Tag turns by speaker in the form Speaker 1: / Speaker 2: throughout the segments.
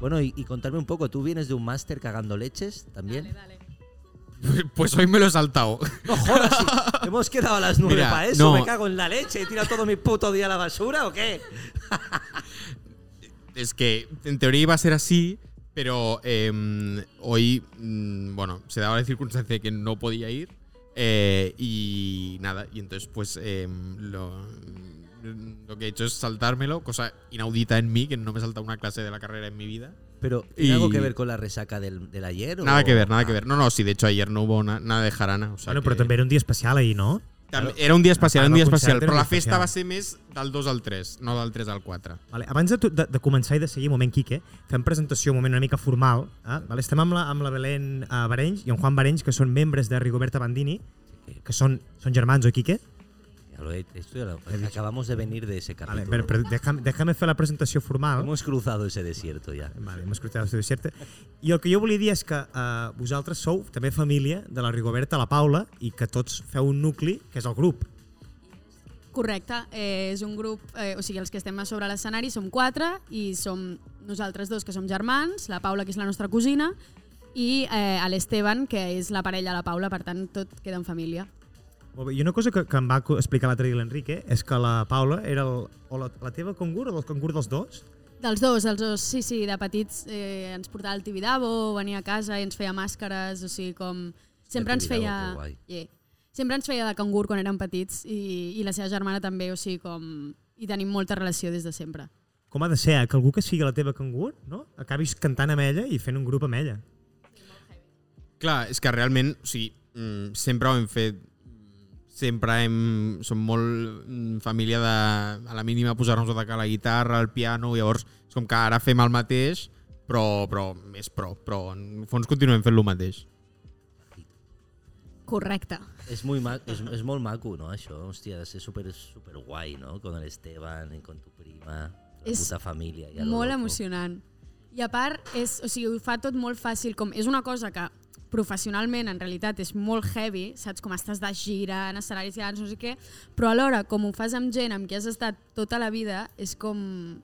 Speaker 1: Bueno, y, y contarme un poco, tú vienes de un máster cagando leches también.
Speaker 2: Dale, dale.
Speaker 3: Pues hoy me lo he saltado.
Speaker 1: No jodas, sí. hemos quedado a las nueve
Speaker 3: Mira,
Speaker 1: para eso.
Speaker 3: no.
Speaker 1: Me cago en la leche. ¿He tirado todo mi puto día a la basura o qué?
Speaker 3: Es que en teoría iba a ser así, pero eh, hoy, mm, bueno, se daba la circunstancia de que no podía ir. eh, y nada, y entonces pues eh, lo, lo que he hecho es saltármelo, cosa inaudita en mí, que no me salta una clase de la carrera en mi vida.
Speaker 1: Pero, ¿tiene algo
Speaker 3: Y-
Speaker 1: que ver con la resaca del, del ayer? o-
Speaker 3: Nada que ver, nada
Speaker 1: Ah,
Speaker 3: que ver. No, no, sí, de hecho ayer no hubo na- nada de jarana. O sea
Speaker 4: Bueno,
Speaker 3: que-
Speaker 4: però també era un dia especial ahir, no?
Speaker 3: Tam- Era un dia especial,
Speaker 4: Ah,
Speaker 3: era un
Speaker 4: el
Speaker 3: dia
Speaker 4: concert
Speaker 3: especial,
Speaker 4: era
Speaker 3: però
Speaker 4: un
Speaker 3: la
Speaker 4: dia
Speaker 3: festa
Speaker 4: especial.
Speaker 3: va ser més del 2 al 3, no del 3 al 4.
Speaker 4: Vale. Abans de, tu- de, de començar i de seguir, un moment, Quique, fem presentació, un moment una mica formal. Eh? Vale? Estem amb la, amb la Belén eh, Barenys i en Juan Barenys, que són membres de Rigoberta Bandini, que són, són germans, oi, Quique?
Speaker 1: Ah, ya lo he- esto ya lo- acabamos de venir de ese
Speaker 4: Vale,
Speaker 1: capítulo.
Speaker 4: però, però déjame, déjame fer la presentació formal.
Speaker 1: Hemos cruzado ese desierto ya.
Speaker 4: Vale, hem escoltat la seva certa. I el que jo volia dir és que eh, vosaltres sou també família de la Rigoberta, la Paula, i que tots feu un nucli, que és el grup.
Speaker 2: Correcte, eh, és un grup, eh, o sigui, els que estem a sobre l'escenari som quatre i som nosaltres dos que som germans, la Paula, que és la nostra cosina, i eh, l'Esteban, que és la parella de la Paula, per tant, tot queda en família.
Speaker 4: Molt bé, I una cosa que, que em va co- explicar l'altre dia l'Enrique és que la Paula era el, o la, la teva congur o del congur dels dos?
Speaker 2: Dels dos, dels dos, sí, sí, de petits eh, ens portava el Tibidabo, venia a casa i ens feia màscares, o sigui, com... Sempre ens
Speaker 1: Tibidabo,
Speaker 2: feia...
Speaker 1: que guai.
Speaker 2: Yeah. Sempre ens feia de cangur quan érem petits i, i la seva germana també, o sigui, com... I tenim molta relació des de sempre.
Speaker 4: Com ha de ser, eh? que algú que sigui la teva cangur, no? Acabis cantant amb ella i fent un grup amb ella.
Speaker 3: Clar, és que realment, o sigui, mm, sempre ho hem fet sempre hem, som molt mm, família de, a la mínima, posar-nos a tocar la guitarra, el piano, llavors és com que ara fem el mateix, però, però més pro, però en el fons continuem fent el mateix.
Speaker 2: Correcte.
Speaker 1: Es muy ma- es, es molt maco, no, això? Hòstia, ha de ser super, super guai, no? Con el Esteban y con tu prima, la
Speaker 2: És
Speaker 1: puta família. Ja
Speaker 2: Molt emocionant. I a part, és, o sigui, ho fa tot molt fàcil. Com, és una cosa que professionalment, en realitat, és molt heavy, saps? Com estàs de gira, en escenaris grans, no sé què, però alhora, com ho fas amb gent amb qui has estat tota la vida, és com...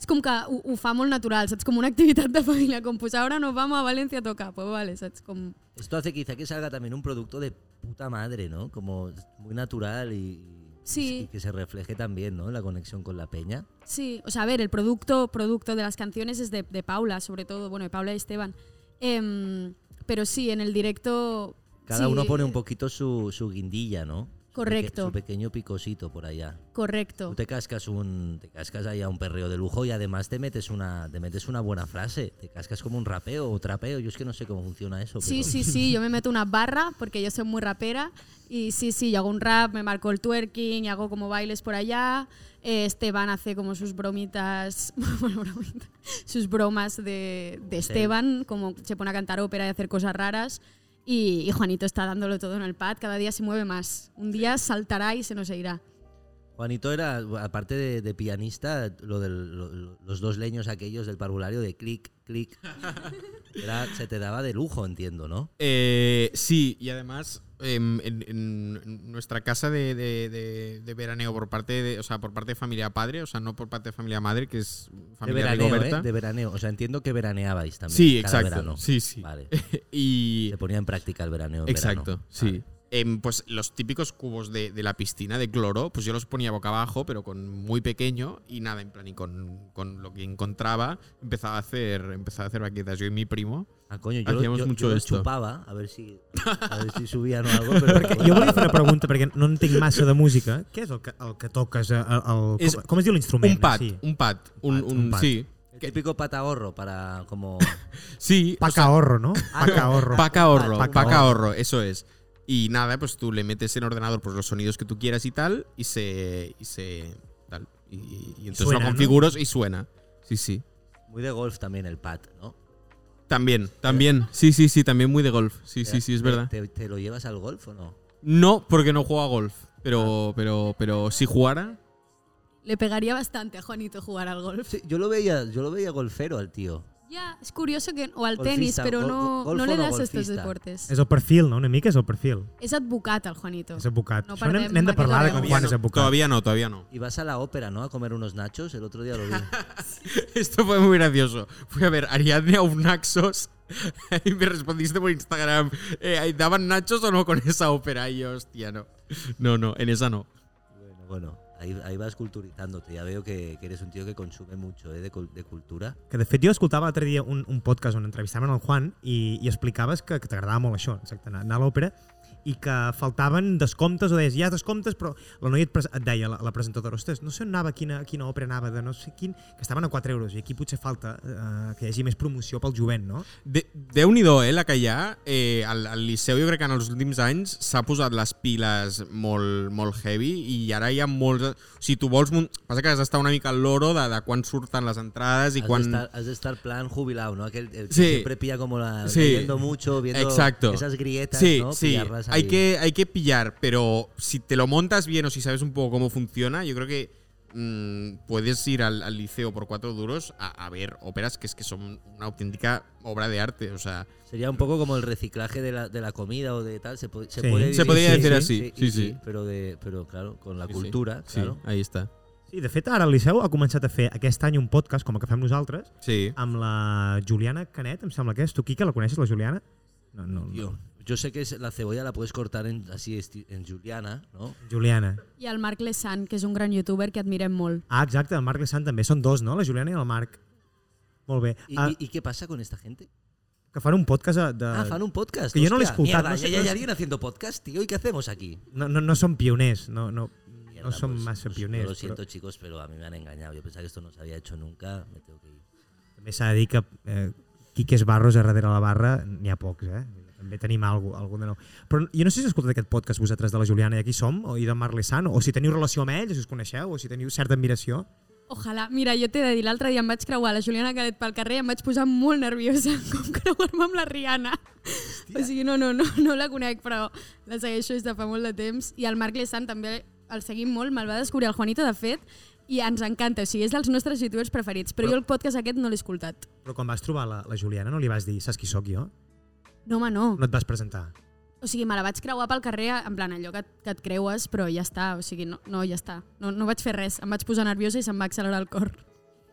Speaker 2: És com que ho, ho fa molt natural, saps? Com una activitat de família, com pues ahora nos vamos a Valencia a tocar, pues vale, saps? Com...
Speaker 1: Esto hace quizá que salga también un producto de puta madre, ¿no? Como muy natural y,
Speaker 2: Sí.
Speaker 1: y que se refleje también, ¿no? La conexión con la peña.
Speaker 2: Sí, o sea, a ver, el producto, producto de las canciones es de, de Paula, sobre todo, bueno, de Paula y Esteban. Em, pero sí, en el directo...
Speaker 1: Cada
Speaker 2: sí,
Speaker 1: uno pone un poquito su, su guindilla, ¿no? Su peque-
Speaker 2: Correcto.
Speaker 1: Su pequeño picosito por allá.
Speaker 2: Correcto.
Speaker 1: Tú te cascas un te cascas ahí a un perreo de lujo y además te metes una te metes una buena frase, te cascas como un rapeo o trapeo, yo es que no sé cómo funciona eso,
Speaker 2: Sí,
Speaker 1: pero-
Speaker 2: sí, sí, yo me meto una barra porque yo soy muy rapera y sí, sí, yo hago un rap, me marco el twerking y hago como bailes por allá. Eh, Esteban hace como sus bromitas, bueno, bromitas, sus bromas de, de Esteban, como se pone a cantar ópera y hacer cosas raras. Y, y Juanito está dándolo todo en el pad, cada día se mueve más. Un día saltará y se nos irá.
Speaker 1: Juanito era aparte de, de pianista, lo del- lo- lo- los dos leños aquellos del parvulario de clic clic. Era- se te daba de lujo, entiendo, ¿no?
Speaker 3: Eh, sí, y además em, en, en nuestra casa de, de- de- de veraneo por parte de, o sea, por parte de familia padre, o sea, no por parte de familia madre, que es
Speaker 1: De
Speaker 3: familia
Speaker 1: veraneo,
Speaker 3: Rigoberta.
Speaker 1: ¿eh? De veraneo, o sea, entiendo que veraneabais también
Speaker 3: Sí,
Speaker 1: cada
Speaker 3: exacto.
Speaker 1: verano.
Speaker 3: Sí, sí.
Speaker 1: Vale.
Speaker 3: y
Speaker 1: Se ponía en práctica el veraneo en
Speaker 3: exacto,
Speaker 1: verano.
Speaker 3: sí. Em, pues los típicos cubos de, de la piscina de cloro, pues yo los ponía boca abajo, pero con muy pequeño y nada, en plan, y con, con lo que encontraba empezaba a hacer, empezaba a hacer baquetas yo y mi primo.
Speaker 1: Ah, coño, yo, lo-
Speaker 3: Hacíamos
Speaker 1: yo-
Speaker 3: mucho
Speaker 1: yo lo
Speaker 3: esto.
Speaker 1: chupaba a ver si a ver si subían o algo, pero
Speaker 4: Jo volia fer una pregunta perquè no entenc massa de música. Què és el que, el que toques? eh? El, el,
Speaker 3: És
Speaker 4: com, com es diu l'instrument?
Speaker 3: Un pat,
Speaker 4: Sí.
Speaker 3: un pat, un,
Speaker 4: pat,
Speaker 3: un-
Speaker 4: un pat.
Speaker 3: sí.
Speaker 1: El típico patahorro para como
Speaker 3: Sí, pues, o sea,
Speaker 4: Pacahorro, no?
Speaker 3: Ah,
Speaker 4: Pacahorro.
Speaker 3: Pacahorro,
Speaker 4: Paca-
Speaker 3: Pacahorro, eso es. Y nada, pues tú le metes en ordenador pues, los sonidos que tú quieras y tal, y se. Y se. Tal, y, y entonces
Speaker 4: Suena,
Speaker 3: lo
Speaker 4: ¿no?
Speaker 3: configuras y suena. Sí, sí.
Speaker 1: muy de golf también el pat, ¿no?
Speaker 3: También, también. Sí, sí, sí, también muy de golf. Sí, sí, sí, es
Speaker 1: ¿Te-
Speaker 3: verdad.
Speaker 1: ¿Te, te lo llevas al golf o no?
Speaker 3: No, porque no juego a golf. Pero, pero, pero si jugara.
Speaker 2: Le pegaría bastante a Juanito jugar al golf.
Speaker 1: Sí, yo lo veía, yo lo veía golfero al tío.
Speaker 2: Ya, es curioso que... O al
Speaker 1: Golfista,
Speaker 2: tenis, pero
Speaker 1: gol-
Speaker 2: no,
Speaker 1: golfo
Speaker 2: no le
Speaker 1: no
Speaker 2: das estos
Speaker 1: golfista.
Speaker 2: deportes.
Speaker 4: És el perfil, no? Una mica és el perfil.
Speaker 2: És advocat, el Juanito.
Speaker 4: És advocat.
Speaker 2: No
Speaker 4: Això n'hem-
Speaker 2: perdem
Speaker 4: n'hem de
Speaker 2: aquest
Speaker 4: parlar de
Speaker 2: avió.
Speaker 4: com
Speaker 2: Juan
Speaker 4: quan és advocat.
Speaker 3: Todavía no, todavía no.
Speaker 1: Y vas a la ópera, ¿no? A comer unos nachos. El otro día lo vi.
Speaker 3: Esto fue muy gracioso. Fui a ver Ariadne a un Naxos y me respondiste por Instagram. eh, ¿Daban Nachos o no con esa ópera? Y yo, hostia, no. No, no, en esa no.
Speaker 1: Bueno, bueno, ahí, ahí vas culturizándote. Ya veo que, que eres un tío que consume mucho ¿eh? de, cul- de cultura.
Speaker 4: Que de fet jo escoltava l'altre dia un, un podcast on entrevistaven el Juan i, i explicaves que, que t'agradava molt això, exacte, anar, anar a l'òpera i que faltaven descomptes o deies, hi ha descomptes, però la noia et, pres- et deia, la, la presentadora, ostres, no sé on anava, quina, quina òpera anava, de no sé quin, que estaven a 4 euros i aquí potser falta eh, que hi hagi més promoció pel jovent, no?
Speaker 3: De, Déu-n'hi-do, eh, la que hi ha. Eh, el, el Liceu jo crec que en els últims anys s'ha posat les piles molt, molt heavy i ara hi ha molts... Si tu vols... mun- Passa que has d'estar una mica al loro de, de quan surten les entrades i
Speaker 1: Has,
Speaker 3: quan...
Speaker 1: de estar, has de estar plan jubilado, ¿no? Aquel el que
Speaker 3: Sí.
Speaker 1: siempre pilla como la.
Speaker 3: Sí.
Speaker 1: leyendo mucho, viendo
Speaker 3: Exacto.
Speaker 1: esas grietas,
Speaker 3: sí,
Speaker 1: ¿no?
Speaker 3: Sí,
Speaker 1: Pillarlas
Speaker 3: hay
Speaker 1: ahí.
Speaker 3: que, hay que pillar, pero si te lo montas bien o si sabes un poco cómo funciona, yo creo que mm, puedes ir al, al liceo por cuatro duros a, a ver óperas que es que son una auténtica obra de arte. O sea,
Speaker 1: Sería un poco como el reciclaje de la, de la comida o de tal. Se, po- se
Speaker 4: Sí.
Speaker 1: puede
Speaker 4: Se
Speaker 1: dividir,
Speaker 4: podría
Speaker 1: sí,
Speaker 4: decir
Speaker 1: sí,
Speaker 3: así,
Speaker 1: y
Speaker 3: sí, sí.
Speaker 1: Pero, de, pero claro, con la
Speaker 3: Sí, sí.
Speaker 1: cultura,
Speaker 3: sí,
Speaker 1: claro.
Speaker 3: ahí está.
Speaker 4: Sí, de fet, ara el Liceu ha començat a fer aquest any un podcast, com el que fem nosaltres,
Speaker 3: Sí.
Speaker 4: amb la Juliana Canet, em sembla que és. Tu, Quica, la coneixes, la Juliana? No, no, no.
Speaker 1: Yo, yo sé que es- la cebolla la puedes cortar en, así esti- en juliana, ¿no?
Speaker 4: Juliana.
Speaker 2: I el Marc Lesan, que és un gran youtuber que admirem molt.
Speaker 4: Ah, exacte, el Marc Lessant també. Són dos, no? La Juliana i el Marc. Molt bé.
Speaker 1: ¿Y,
Speaker 4: Ah,
Speaker 1: y- y qué pasa con esta gente?
Speaker 4: que fan un podcast eh, de...
Speaker 1: Ah, fan un podcast.
Speaker 4: que yo no lo he
Speaker 1: Hostia,
Speaker 4: escuchado,
Speaker 1: mierda,
Speaker 4: no sé-
Speaker 1: ya- ya
Speaker 4: no
Speaker 1: hay
Speaker 4: sé-
Speaker 1: alguien haciendo podcast, tío. ¿Y qué hacemos aquí?
Speaker 4: no, no, no són pioners, no, no, no
Speaker 1: Mierda,
Speaker 4: són
Speaker 1: pues,
Speaker 4: massa
Speaker 1: pues,
Speaker 4: pioners.
Speaker 1: Yo lo siento,
Speaker 4: però
Speaker 1: chicos, pero a mí me han engañado. Yo pensaba que esto no se había hecho nunca. Me tengo que ir.
Speaker 4: també s'ha de dir que eh, Quiques Barros a darrere la barra n'hi ha pocs, eh? També tenim algú, algú de nou. Però jo no sé si heu escoltat aquest podcast vosaltres de la Juliana i aquí som, o i de Marc Lessant, o si teniu relació amb ells, si us coneixeu, o si teniu certa admiració.
Speaker 2: Ojalà. Mira, jo t'he de dir, l'altre dia em vaig creuar la Juliana Cadet pel carrer i em vaig posar molt nerviosa com creuar-me amb la Rihanna. O sigui, no, no, no, no la conec, però la segueixo des de fa molt de temps. I el Marc Lesan també el seguim molt, me'l va descobrir el Juanito, de fet, i ens encanta, o sigui, és dels nostres youtubers preferits, però,
Speaker 4: Però-
Speaker 2: jo el podcast aquest no l'he escoltat.
Speaker 4: Però quan vas trobar la, la Juliana no li vas dir saps qui sóc jo?
Speaker 2: No, home, no.
Speaker 4: No et vas presentar.
Speaker 2: O sigui, me la vaig creuar pel carrer, en plan, allò que et, que et creues, però ja està, o sigui, no, no ja està. No, no vaig fer res, em vaig posar nerviosa i se'm va accelerar el cor.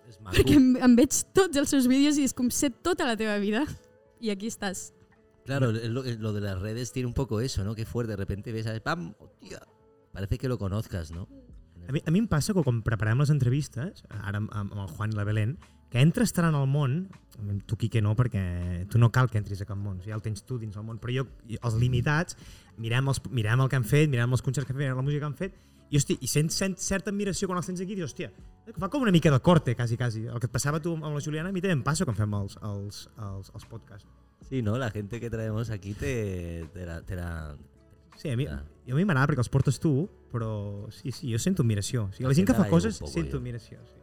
Speaker 1: Es uh,
Speaker 2: Perquè em, em veig tots els seus vídeos i és com sé tota la teva vida. I aquí estàs.
Speaker 1: Claro, lo, lo de las redes tiene un poco eso, ¿no? Qué fuerte. De repente ves a ¡pam! ¡Hostia! Parece que lo conozcas, ¿no?
Speaker 4: A mi, a mi em passa que quan preparem les entrevistes, ara amb, amb el Juan i la Belén, que entres tant al món, tu Quique no, perquè tu no cal que entris a cap món, ja el tens tu dins el món, però jo, els limitats, mirem, els, mirem el que han fet, mirem els concerts que han fet, mirem la música que han fet, i, hosti, i sents, sents certa admiració quan els tens aquí, i dius, hòstia, fa com una mica de corte, quasi, quasi. El que et passava a tu amb la Juliana, a mi també em passa quan fem els, els, els, els podcasts.
Speaker 1: Sí, ¿no? La gente que traemos aquí te, te la, te la-
Speaker 4: Sí, a mi,
Speaker 1: Ah.
Speaker 4: a mi m'agrada perquè els portes tu, però sí, sí, jo sento admiració. O sigui, la gent que fa
Speaker 1: M'agrada un
Speaker 4: coses,
Speaker 1: poco,
Speaker 4: sento
Speaker 1: jo.
Speaker 4: admiració. Sí.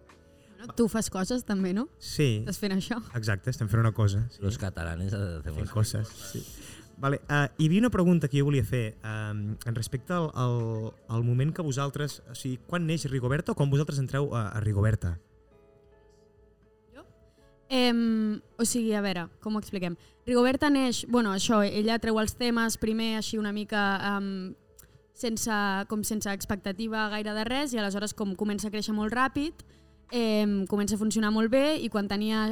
Speaker 2: No, tu fas coses també, no?
Speaker 4: sí.
Speaker 2: Estàs fent això.
Speaker 4: Exacte, estem fent una cosa. Sí.
Speaker 1: Los catalanes
Speaker 4: Fent
Speaker 1: hacemos.
Speaker 4: coses. Sí. Vale, uh, hi havia una pregunta que jo volia fer um, en respecte al, al, al moment que vosaltres... O sigui, quan neix Rigoberta o quan vosaltres entreu a, a Rigoberta?
Speaker 2: Em, o sigui, a veure, com ho expliquem? Rigoberta neix, bueno, això, ella treu els temes primer així una mica um, sense, com sense expectativa gaire de res i aleshores com comença a créixer molt ràpid, em, comença a funcionar molt bé i quan tenia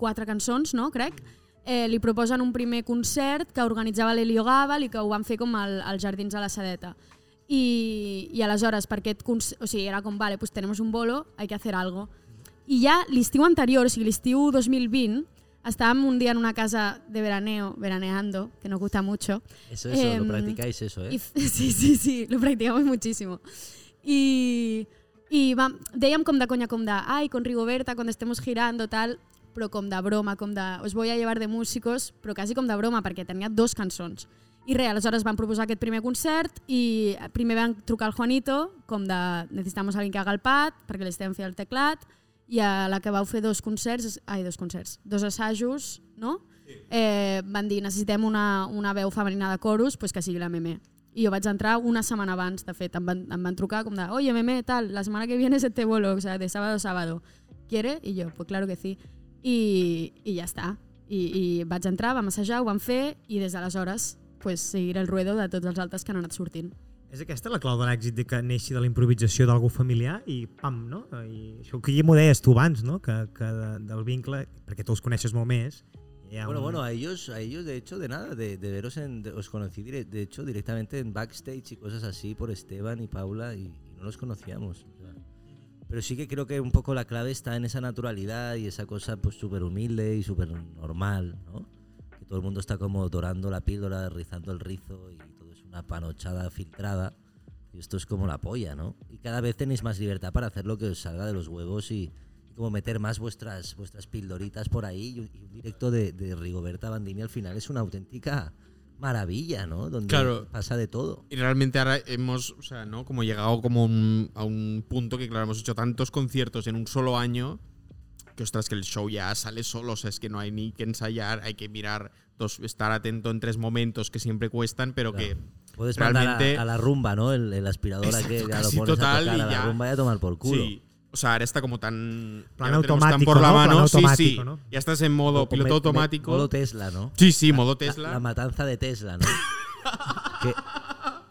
Speaker 2: quatre cançons, no, crec, eh, li proposen un primer concert que organitzava l'Elio Gàbal i que ho van fer com al, als Jardins de la Sedeta. I, i aleshores, per aquest concert, o sigui, era com, vale, pues tenemos un bolo, hay que hacer algo. I ja l'estiu anterior, o sigui, l'estiu 2020, estàvem un dia en una casa de veraneo, veraneando, que no gusta mucho,
Speaker 1: Eso, eso,
Speaker 2: Em,
Speaker 1: lo practicáis eso, ¿eh?
Speaker 2: y f- sí, sí, sí, lo practicamos muchísimo. Y, y vam, dèiem com de conya, com de, ay, con Rigoberta, cuando estemos girando, tal, però com de broma, com de, os voy a llevar de músicos, però quasi com de broma, perquè tenia dos cançons. I res, aleshores van proposar aquest primer concert i eh, primer van trucar al Juanito, com de, necessitamos alguien que haga el pad, perquè li estem fent el teclat, i a la que vau fer dos concerts, ai, dos concerts, dos assajos, no? eh, van dir necessitem una, una veu femenina de coros pues que sigui la Meme. I jo vaig entrar una setmana abans, de fet, em van, em van trucar com de oye Meme, tal, la setmana que viene se te bolo, o sea, de sábado a sábado. ¿Quiere? I jo, pues claro que sí. i, i ja està. I, I vaig entrar, vam assajar, ho vam fer i des d'aleshores pues, seguir el ruedo de tots els altres que han anat sortint.
Speaker 4: És aquesta la clau de l'èxit de que neixi de la improvisació d'algú familiar i pam, no? I això que ja m'ho deies tu abans, no? Que, que de, del vincle, perquè tu els coneixes molt més, hi ha
Speaker 1: Bueno,
Speaker 4: un...
Speaker 1: bueno, eh. a ellos, a ellos de hecho de nada, de, de veros en, de- os conocí dire- de hecho directamente en backstage y cosas así por Esteban y Paula y, y no los conocíamos. o sea. Pero sí que creo que un poco la clave está en esa naturalidad y esa cosa pues súper humilde y súper normal, ¿no? Que todo el mundo está como dorando la píldora, rizando el rizo y todo es una panochada filtrada. Y esto es como la polla, ¿no? Y cada vez tenéis más libertad para hacer lo que os salga de los huevos y, y como meter más vuestras, vuestras pildoritas por ahí. Y un, y un directo de, de Rigoberta Bandini al final es una auténtica maravilla, ¿no? Donde
Speaker 3: Claro.
Speaker 1: pasa de todo.
Speaker 3: Y realmente ahora hemos, o sea, ¿no? Como llegado como un- a un punto que, claro, hemos hecho tantos conciertos en un solo año que, ostras, que el show ya sale solo. O sea, es que no hay ni que ensayar, hay que mirar, dos, estar atento en tres momentos que siempre cuestan, pero
Speaker 1: Claro.
Speaker 3: que
Speaker 1: Puedes mandar
Speaker 3: realmente...
Speaker 1: a, a la rumba, ¿no? El, el aspirador
Speaker 3: Exacto,
Speaker 1: que ya lo
Speaker 3: casi
Speaker 1: pones
Speaker 3: total
Speaker 1: a tocar
Speaker 3: y
Speaker 1: a la
Speaker 3: ya.
Speaker 1: rumba y a tomar por culo.
Speaker 3: Sí. O sea, ahora está como tan.
Speaker 4: Plan
Speaker 3: ya lo tenemos
Speaker 4: automático,
Speaker 3: por la
Speaker 4: ¿no? Plan
Speaker 3: mano. Sí,
Speaker 4: automático,
Speaker 3: sí.
Speaker 4: ¿no?
Speaker 3: Ya estás en
Speaker 1: Como
Speaker 3: modo piloto
Speaker 1: me- me-
Speaker 3: automático.
Speaker 1: Modo Tesla, ¿no?
Speaker 3: sí, sí, modo
Speaker 1: La-
Speaker 3: Tesla.
Speaker 1: La, matanza de Tesla, ¿no? que,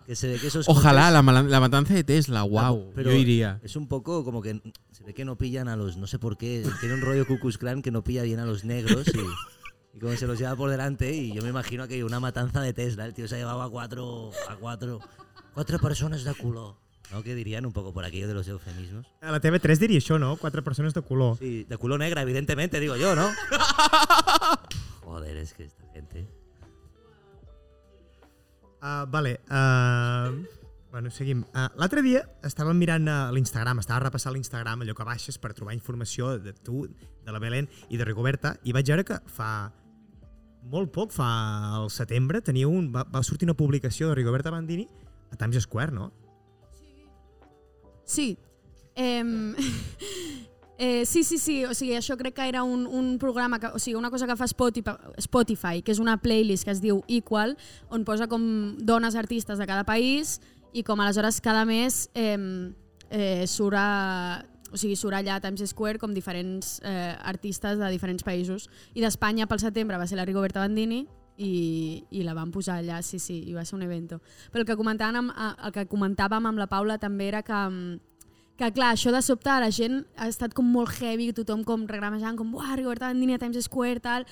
Speaker 1: que se ve que esos
Speaker 3: Ojalá
Speaker 1: coches-
Speaker 3: la, mala- la matanza de Tesla, wow.
Speaker 1: Pero
Speaker 3: yo iría.
Speaker 1: Es un poco como que se ve que no pillan a los, no sé por qué, tiene un rollo Cucus Clan que no pilla bien a los negros y, y como se los lleva por delante y yo me imagino que hay una matanza de Tesla, el tío se ha llevado a cuatro, a cuatro, cuatro personas de culo. ¿No? ¿Qué dirían un poco por aquello de los eufemismos?
Speaker 4: A la TV3 diria això, no? Quatre persones de color. Sí.
Speaker 1: Sí, de culo negra, evidentemente, digo yo, ¿no? Joder, es que esta gente...
Speaker 4: Uh, vale, uh, bueno, seguim. Uh, L'altre dia estàvem mirant uh, l'Instagram, estava repassant l'Instagram, allò que baixes per trobar informació de tu, de la Belén i de Rigoberta, i vaig veure que fa molt poc, fa al setembre, teniu un, va, va sortir una publicació de Rigoberta Bandini a Times Square, no?
Speaker 2: Sí. Em, eh, sí, sí, sí, o sigui, això crec que era un, un programa, que, o sigui, una cosa que fa Spotify, Spotify, que és una playlist que es diu Equal, on posa com dones artistes de cada país i com aleshores cada mes em, eh, surt a, o sigui, surt allà a Times Square com diferents eh, artistes de diferents països. I d'Espanya pel setembre va ser la Rigoberta Bandini i, i la van posar allà, sí, sí, i va ser un evento. Però el que, comentaven amb, eh, el que comentàvem amb la Paula també era que, mm, que clar, això de sobte la gent ha estat com molt heavy, tothom com regramejant, com, uah, Rigoberta Bandini a Times Square, tal,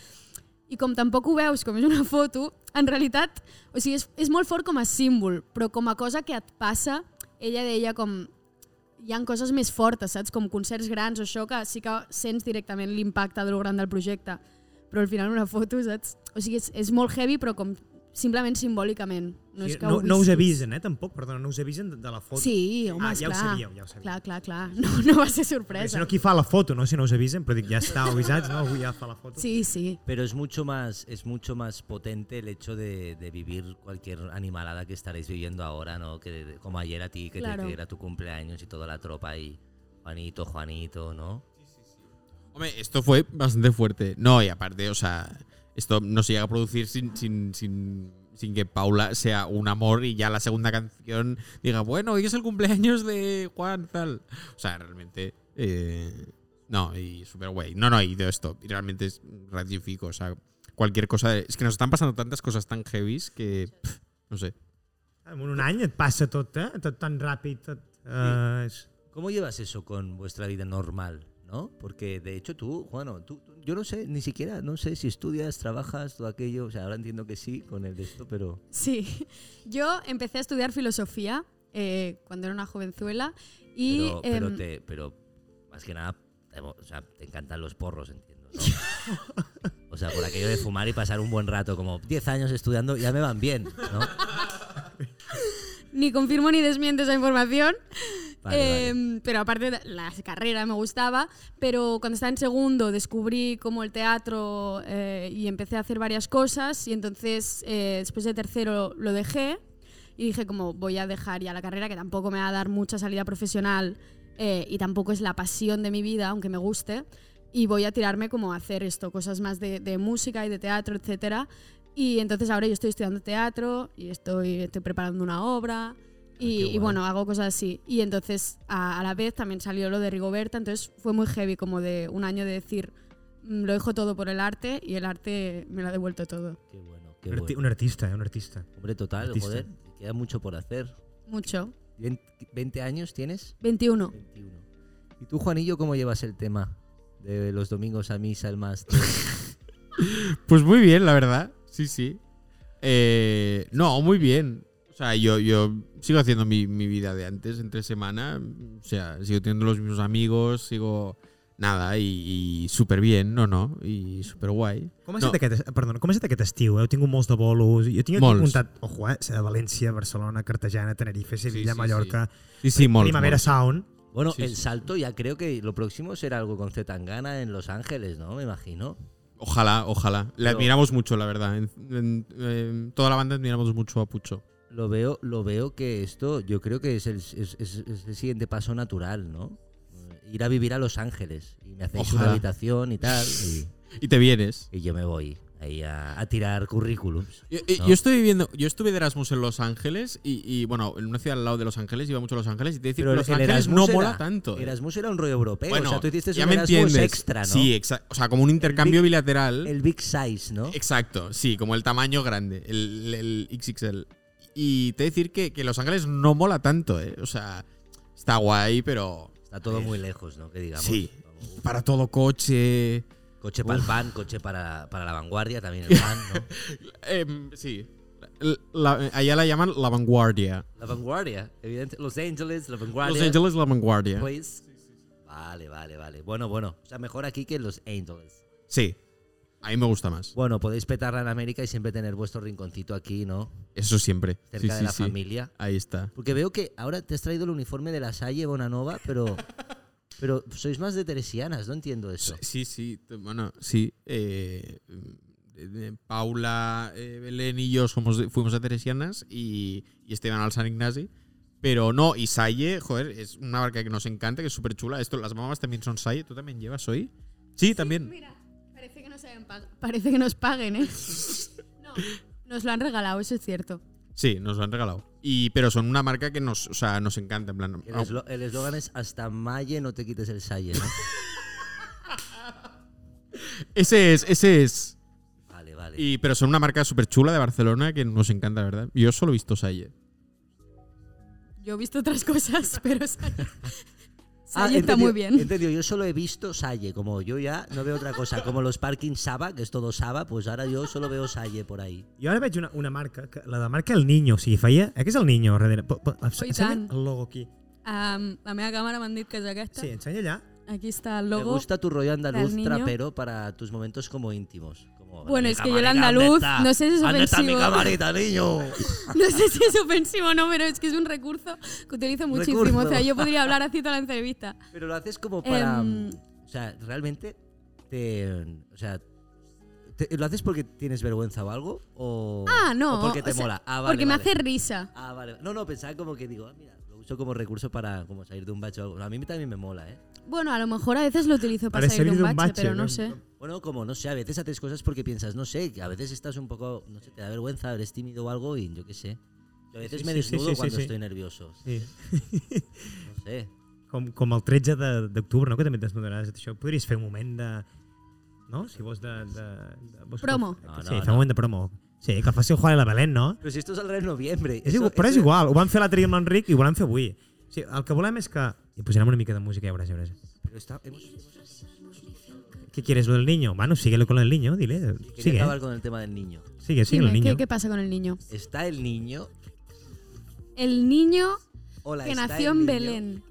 Speaker 2: i com tampoc ho veus, com és una foto, en realitat, o sigui, és, és molt fort com a símbol, però com a cosa que et passa, ella deia com hi han coses més fortes, saps? Com concerts grans o això, que sí que sents directament l'impacte de lo gran del projecte. Però al final una foto, saps? O sigui, és, és molt heavy, però com simplement simbòlicament. No, és
Speaker 4: Sí,
Speaker 2: que
Speaker 4: no,
Speaker 2: ho
Speaker 4: no us
Speaker 2: visquis.
Speaker 4: avisen, eh, tampoc, perdona, no us avisen de, de la foto.
Speaker 2: Sí, home,
Speaker 4: ah, ja
Speaker 2: esclar.
Speaker 4: ho sabíeu, ja ho sabíeu.
Speaker 2: Clar, clar, clar. No, no va ser
Speaker 4: Perquè
Speaker 2: sorpresa.
Speaker 4: si no, qui fa la foto, no? Si no us avisen, però dic, ja està, avisats, no? Avui ja fa la foto.
Speaker 2: Sí, sí.
Speaker 1: Pero es mucho más, es mucho más potente el hecho de, de vivir cualquier animalada que estaréis viviendo ahora, ¿no? Que de- como ayer a ti, que, te-
Speaker 2: Claro.
Speaker 1: que era tu cumpleaños y toda la tropa y Juanito, Juanito, ¿no?
Speaker 3: Hombre, esto fue bastante fuerte. No, y aparte, o sea, esto no se llega a producir sin, sin, sin, sin que Paula sea un amor y ya la segunda canción diga, bueno, hoy es el cumpleaños de Juan, tal. O sea, realmente. eh, no, y súper guay. No, no, y de esto. Y realmente es ratifico, o sea, cualquier cosa. Es que nos están pasando tantas cosas tan heavies que. pff, no sé.
Speaker 4: En un any et passa tot, eh? Tot tan ràpid, tot... Eh, és-
Speaker 1: ¿Cómo llevas eso con vuestra vida normal, no? Porque de hecho tú, Juano, tú, tú- yo no sé, ni siquiera, no sé si estudias, trabajas, todo aquello, o sea, ahora entiendo que sí con el de esto, pero...
Speaker 2: Sí. Yo empecé a estudiar filosofía eh, cuando era una jovenzuela y...
Speaker 1: Pero, pero
Speaker 2: em,
Speaker 1: te- pero más que nada, te, mo- o sea, te encantan los porros, entiendo. ¿no? o sea, por aquello de fumar y pasar un buen rato, como 10 años estudiando, ya me van bien, ¿no?
Speaker 2: Ni confirmo ni desmiento esa información.
Speaker 1: Vale,
Speaker 2: Em, Pero aparte, de- la carrera me gustaba. Pero cuando estaba en segundo descubrí como el teatro eh, y empecé a hacer varias cosas. Y entonces, eh, después de tercero, lo dejé. Y dije, como voy a dejar ya la carrera, que tampoco me va a dar mucha salida profesional eh, y tampoco es la pasión de mi vida, aunque me guste. Y voy a tirarme como a hacer esto, cosas más de, de música y de teatro, etcétera. Y entonces ahora yo estoy estudiando teatro y estoy, estoy preparando una obra
Speaker 1: Ah, qué
Speaker 2: y, y
Speaker 1: guay.
Speaker 2: bueno, hago cosas así. Y entonces a, a la vez también salió lo de Rigoberta, entonces fue muy heavy como de un año de decir, mm, lo dejo todo por el arte y el arte me lo ha devuelto todo.
Speaker 1: Qué bueno, qué
Speaker 4: Un, arti-
Speaker 1: bueno.
Speaker 4: un artista, eh, un artista.
Speaker 1: Hombre, total,
Speaker 4: artista.
Speaker 1: joder, queda mucho por hacer.
Speaker 2: Mucho.
Speaker 1: Vein- ¿20 años tienes?
Speaker 2: 21.
Speaker 1: 21. ¿Y tú, Juanillo, cómo llevas el tema de los domingos a misa, el más?
Speaker 3: Pues muy bien, la verdad. Sí, sí. Eh, no, muy bien. O sea, yo, yo sigo haciendo mi, mi vida de antes, entre semana. O sea, sigo teniendo los mismos amigos, sigo. Nada, y, y súper bien, no, no. Y súper guay.
Speaker 4: Com ha,
Speaker 3: No,
Speaker 4: estat aquest, perdona, com ha estat aquest estiu? Eh? Heu tingut molts de bolos. Jo tinc
Speaker 3: Molts.
Speaker 4: molts. apuntat, ojo, eh? Ser de València, Barcelona, Cartagena, Tenerife, Sevilla,
Speaker 3: sí,
Speaker 4: sí, Mallorca, sí.
Speaker 3: Sí, sí, molts,
Speaker 4: Primavera
Speaker 3: molts.
Speaker 4: Sound.
Speaker 1: Bueno,
Speaker 3: Sí,
Speaker 1: el
Speaker 3: sí,
Speaker 1: salto ya creo que lo próximo será algo con Zetangana en Los Ángeles, ¿no? Me imagino.
Speaker 3: Ojalá, ojalá. Le
Speaker 1: Pero-
Speaker 3: admiramos mucho, la verdad. En- en- en toda la banda admiramos mucho a Pucho.
Speaker 1: Lo veo, lo veo que esto, yo creo que es el, es- es- es el siguiente paso natural, ¿no? Eh, Ir a vivir a Los Ángeles y me hacéis
Speaker 3: Ojalá.
Speaker 1: una habitación y tal. Y,
Speaker 3: Y te vienes.
Speaker 1: y yo me voy ahí a, a tirar currículums.
Speaker 3: Yo, eh,
Speaker 1: No.
Speaker 3: yo estoy viviendo, yo estuve de Erasmus en Los Ángeles y, y, bueno, en una ciudad al lado de Los Ángeles, iba mucho a Los Ángeles y te decía que
Speaker 1: el-
Speaker 3: Los
Speaker 1: el
Speaker 3: Ángeles
Speaker 1: Erasmus
Speaker 3: no mola
Speaker 1: era-
Speaker 3: tanto. eh.
Speaker 1: Erasmus era un rollo europeo, o
Speaker 3: bueno,
Speaker 1: sea, tú hiciste
Speaker 3: ya
Speaker 1: un
Speaker 3: me
Speaker 1: Erasmus
Speaker 3: entiendes.
Speaker 1: extra, ¿no?
Speaker 3: Sí, eh. exacto. O sea, como un intercambio
Speaker 1: big-
Speaker 3: bilateral.
Speaker 1: el big size, ¿no?
Speaker 3: Exacto, sí, como el tamaño grande, el, el XXL. Y te decir que, que Los Ángeles no mola tanto, ¿eh? O sea, está guay, pero
Speaker 1: Está todo
Speaker 3: Eh,
Speaker 1: muy lejos, ¿no? Que digamos.
Speaker 3: sí.
Speaker 1: Vamos, uf,
Speaker 3: para todo coche.
Speaker 1: Coche para el pan, coche para, para la vanguardia, también el pan, ¿no?
Speaker 3: Em, sí. La- la- allá la llaman la vanguardia.
Speaker 1: La vanguardia, evidente. Los Angeles, la vanguardia.
Speaker 3: Los Ángeles la vanguardia.
Speaker 1: Please. Pues, Vale, vale, vale. Bueno, bueno. O sea, mejor aquí que en Los Angeles.
Speaker 3: Sí. A mí me gusta más.
Speaker 1: Bueno, podéis petarla en América y siempre tener vuestro rinconcito aquí, ¿no?
Speaker 3: Eso siempre.
Speaker 1: Cerca
Speaker 3: sí,
Speaker 1: de
Speaker 3: sí,
Speaker 1: la
Speaker 3: sí.
Speaker 1: familia.
Speaker 3: Ahí está.
Speaker 1: Porque veo que ahora te has traído el uniforme de la Salle Bonanova, pero. Pero sois más de teresianas, no entiendo eso.
Speaker 3: Sí, sí. t- Bueno, sí. eh, eh, Paula, eh, Belén y yo somos de- fuimos a Teresianas y, y Esteban al San Ignasi. Pero no, y Salle, joder, es una marca que nos encanta, que es súper chula. Esto, las mamás también son Salle. ¿Tú también llevas hoy? Sí, también.
Speaker 2: Mira, parece que, nos hayan pag- parece que nos paguen, ¿eh? No, nos lo han regalado, eso es cierto.
Speaker 3: Sí, nos lo han regalado. Y, pero son una marca que nos, o sea, nos encanta. En plan,
Speaker 1: El
Speaker 3: au-
Speaker 1: eslo- el eslogan es hasta Malle no te quites el Salle, ¿no?
Speaker 3: ese es, ese es.
Speaker 1: Vale, vale.
Speaker 3: Y, pero son una marca súper chula de Barcelona que nos encanta, la verdad. Yo solo he visto Salle.
Speaker 2: Yo he visto otras cosas, pero Salle,
Speaker 1: Ah,
Speaker 2: Salle está
Speaker 1: entendido,
Speaker 2: muy bien.
Speaker 1: entendido. yo solo he visto Salle, como yo ya no veo otra cosa. Como los parkings Saba, que es todo Saba, pues ahora yo solo veo Salle por ahí.
Speaker 4: Jo ara veig una, una marca, que, la de marca El Niño, o sigui, feia... Eh, que és El Niño, darrere? Po- po- Ensenya
Speaker 2: tant.
Speaker 4: el logo aquí.
Speaker 2: Am, la meva càmera m'han dit que és aquesta.
Speaker 4: Sí, ensenya allà.
Speaker 2: Aquí está el
Speaker 1: Me
Speaker 2: logo.
Speaker 1: gusta tu rollo andaluz
Speaker 2: del niño.
Speaker 1: trapero para tus momentos como íntimos. Como,
Speaker 2: Bueno,
Speaker 1: "Mi
Speaker 2: es que yo el
Speaker 1: camarita, ¿dónde
Speaker 2: andaluz,
Speaker 1: está?
Speaker 2: no sé si es
Speaker 1: ¿Dónde está mi
Speaker 2: ofensivo".
Speaker 1: camarita, niño?
Speaker 2: No sé si es ofensivo o no, pero es que es un recurso que utilizo muchísimo.
Speaker 1: Recurso.
Speaker 2: O sea, yo podría hablar así toda la entrevista.
Speaker 1: Pero lo haces como para...
Speaker 2: Em.
Speaker 1: o sea, realmente te... O sea, te- ¿lo haces porque tienes vergüenza o algo? O,
Speaker 2: Ah, no.
Speaker 1: o porque te
Speaker 2: o sea,
Speaker 1: mola. Ah, vale,
Speaker 2: porque me
Speaker 1: vale.
Speaker 2: hace risa.
Speaker 1: Ah, vale. No, no, pensaba como que digo, ah, mira, lo uso como recurso para como salir de un bache o algo. A mí también me mola, ¿eh?
Speaker 2: Bueno, a lo mejor a veces lo utilizo para,
Speaker 4: Para
Speaker 2: salir de un
Speaker 4: salir
Speaker 2: bache, pero no sé.
Speaker 1: Bueno, como no sé, a veces haces cosas porque piensas, no sé, que a veces estás un poco, no sé, te da vergüenza, eres tímido o algo y yo qué sé. Yo a veces
Speaker 4: Sí,
Speaker 1: me
Speaker 4: sí, sí,
Speaker 1: desnudo
Speaker 4: sí, sí,
Speaker 1: cuando
Speaker 4: sí.
Speaker 1: estoy nervioso.
Speaker 4: Sí.
Speaker 1: No sé.
Speaker 4: Com, com el 13 de- d'octubre, no? Que també et desnudaràs. i tot Això podries fer un moment de... No? Si vols de... de, de vols
Speaker 2: Promo.
Speaker 4: Que,
Speaker 1: No, no,
Speaker 4: sí, fer
Speaker 1: no.
Speaker 4: un moment de promo. Sí, que el faci el Juan i la Belén, no?
Speaker 1: Pero si esto saldrá en noviembre.
Speaker 4: És
Speaker 1: eso-
Speaker 4: igual, però és
Speaker 1: eso-
Speaker 4: igual, ho vam fer l'altre dia amb l'Enric i ho volem fer avui. O sigui, el que volem és que... I posarem una mica de música, ja veuràs, ja veuràs.
Speaker 1: Pero está, hemos-
Speaker 4: ¿Qué quieres lo del niño? Bueno, síguelo con el niño, dile.
Speaker 1: quería
Speaker 4: Sigue, ¿eh?
Speaker 1: acabar con el tema del niño.
Speaker 4: sigue, sigue
Speaker 2: Dime,
Speaker 4: el niño.
Speaker 2: ¿qué, qué pasa con el niño?
Speaker 1: Está el niño.
Speaker 2: El niño
Speaker 1: Hola,
Speaker 2: que
Speaker 1: está el
Speaker 2: nació en
Speaker 1: niño.
Speaker 2: Belén.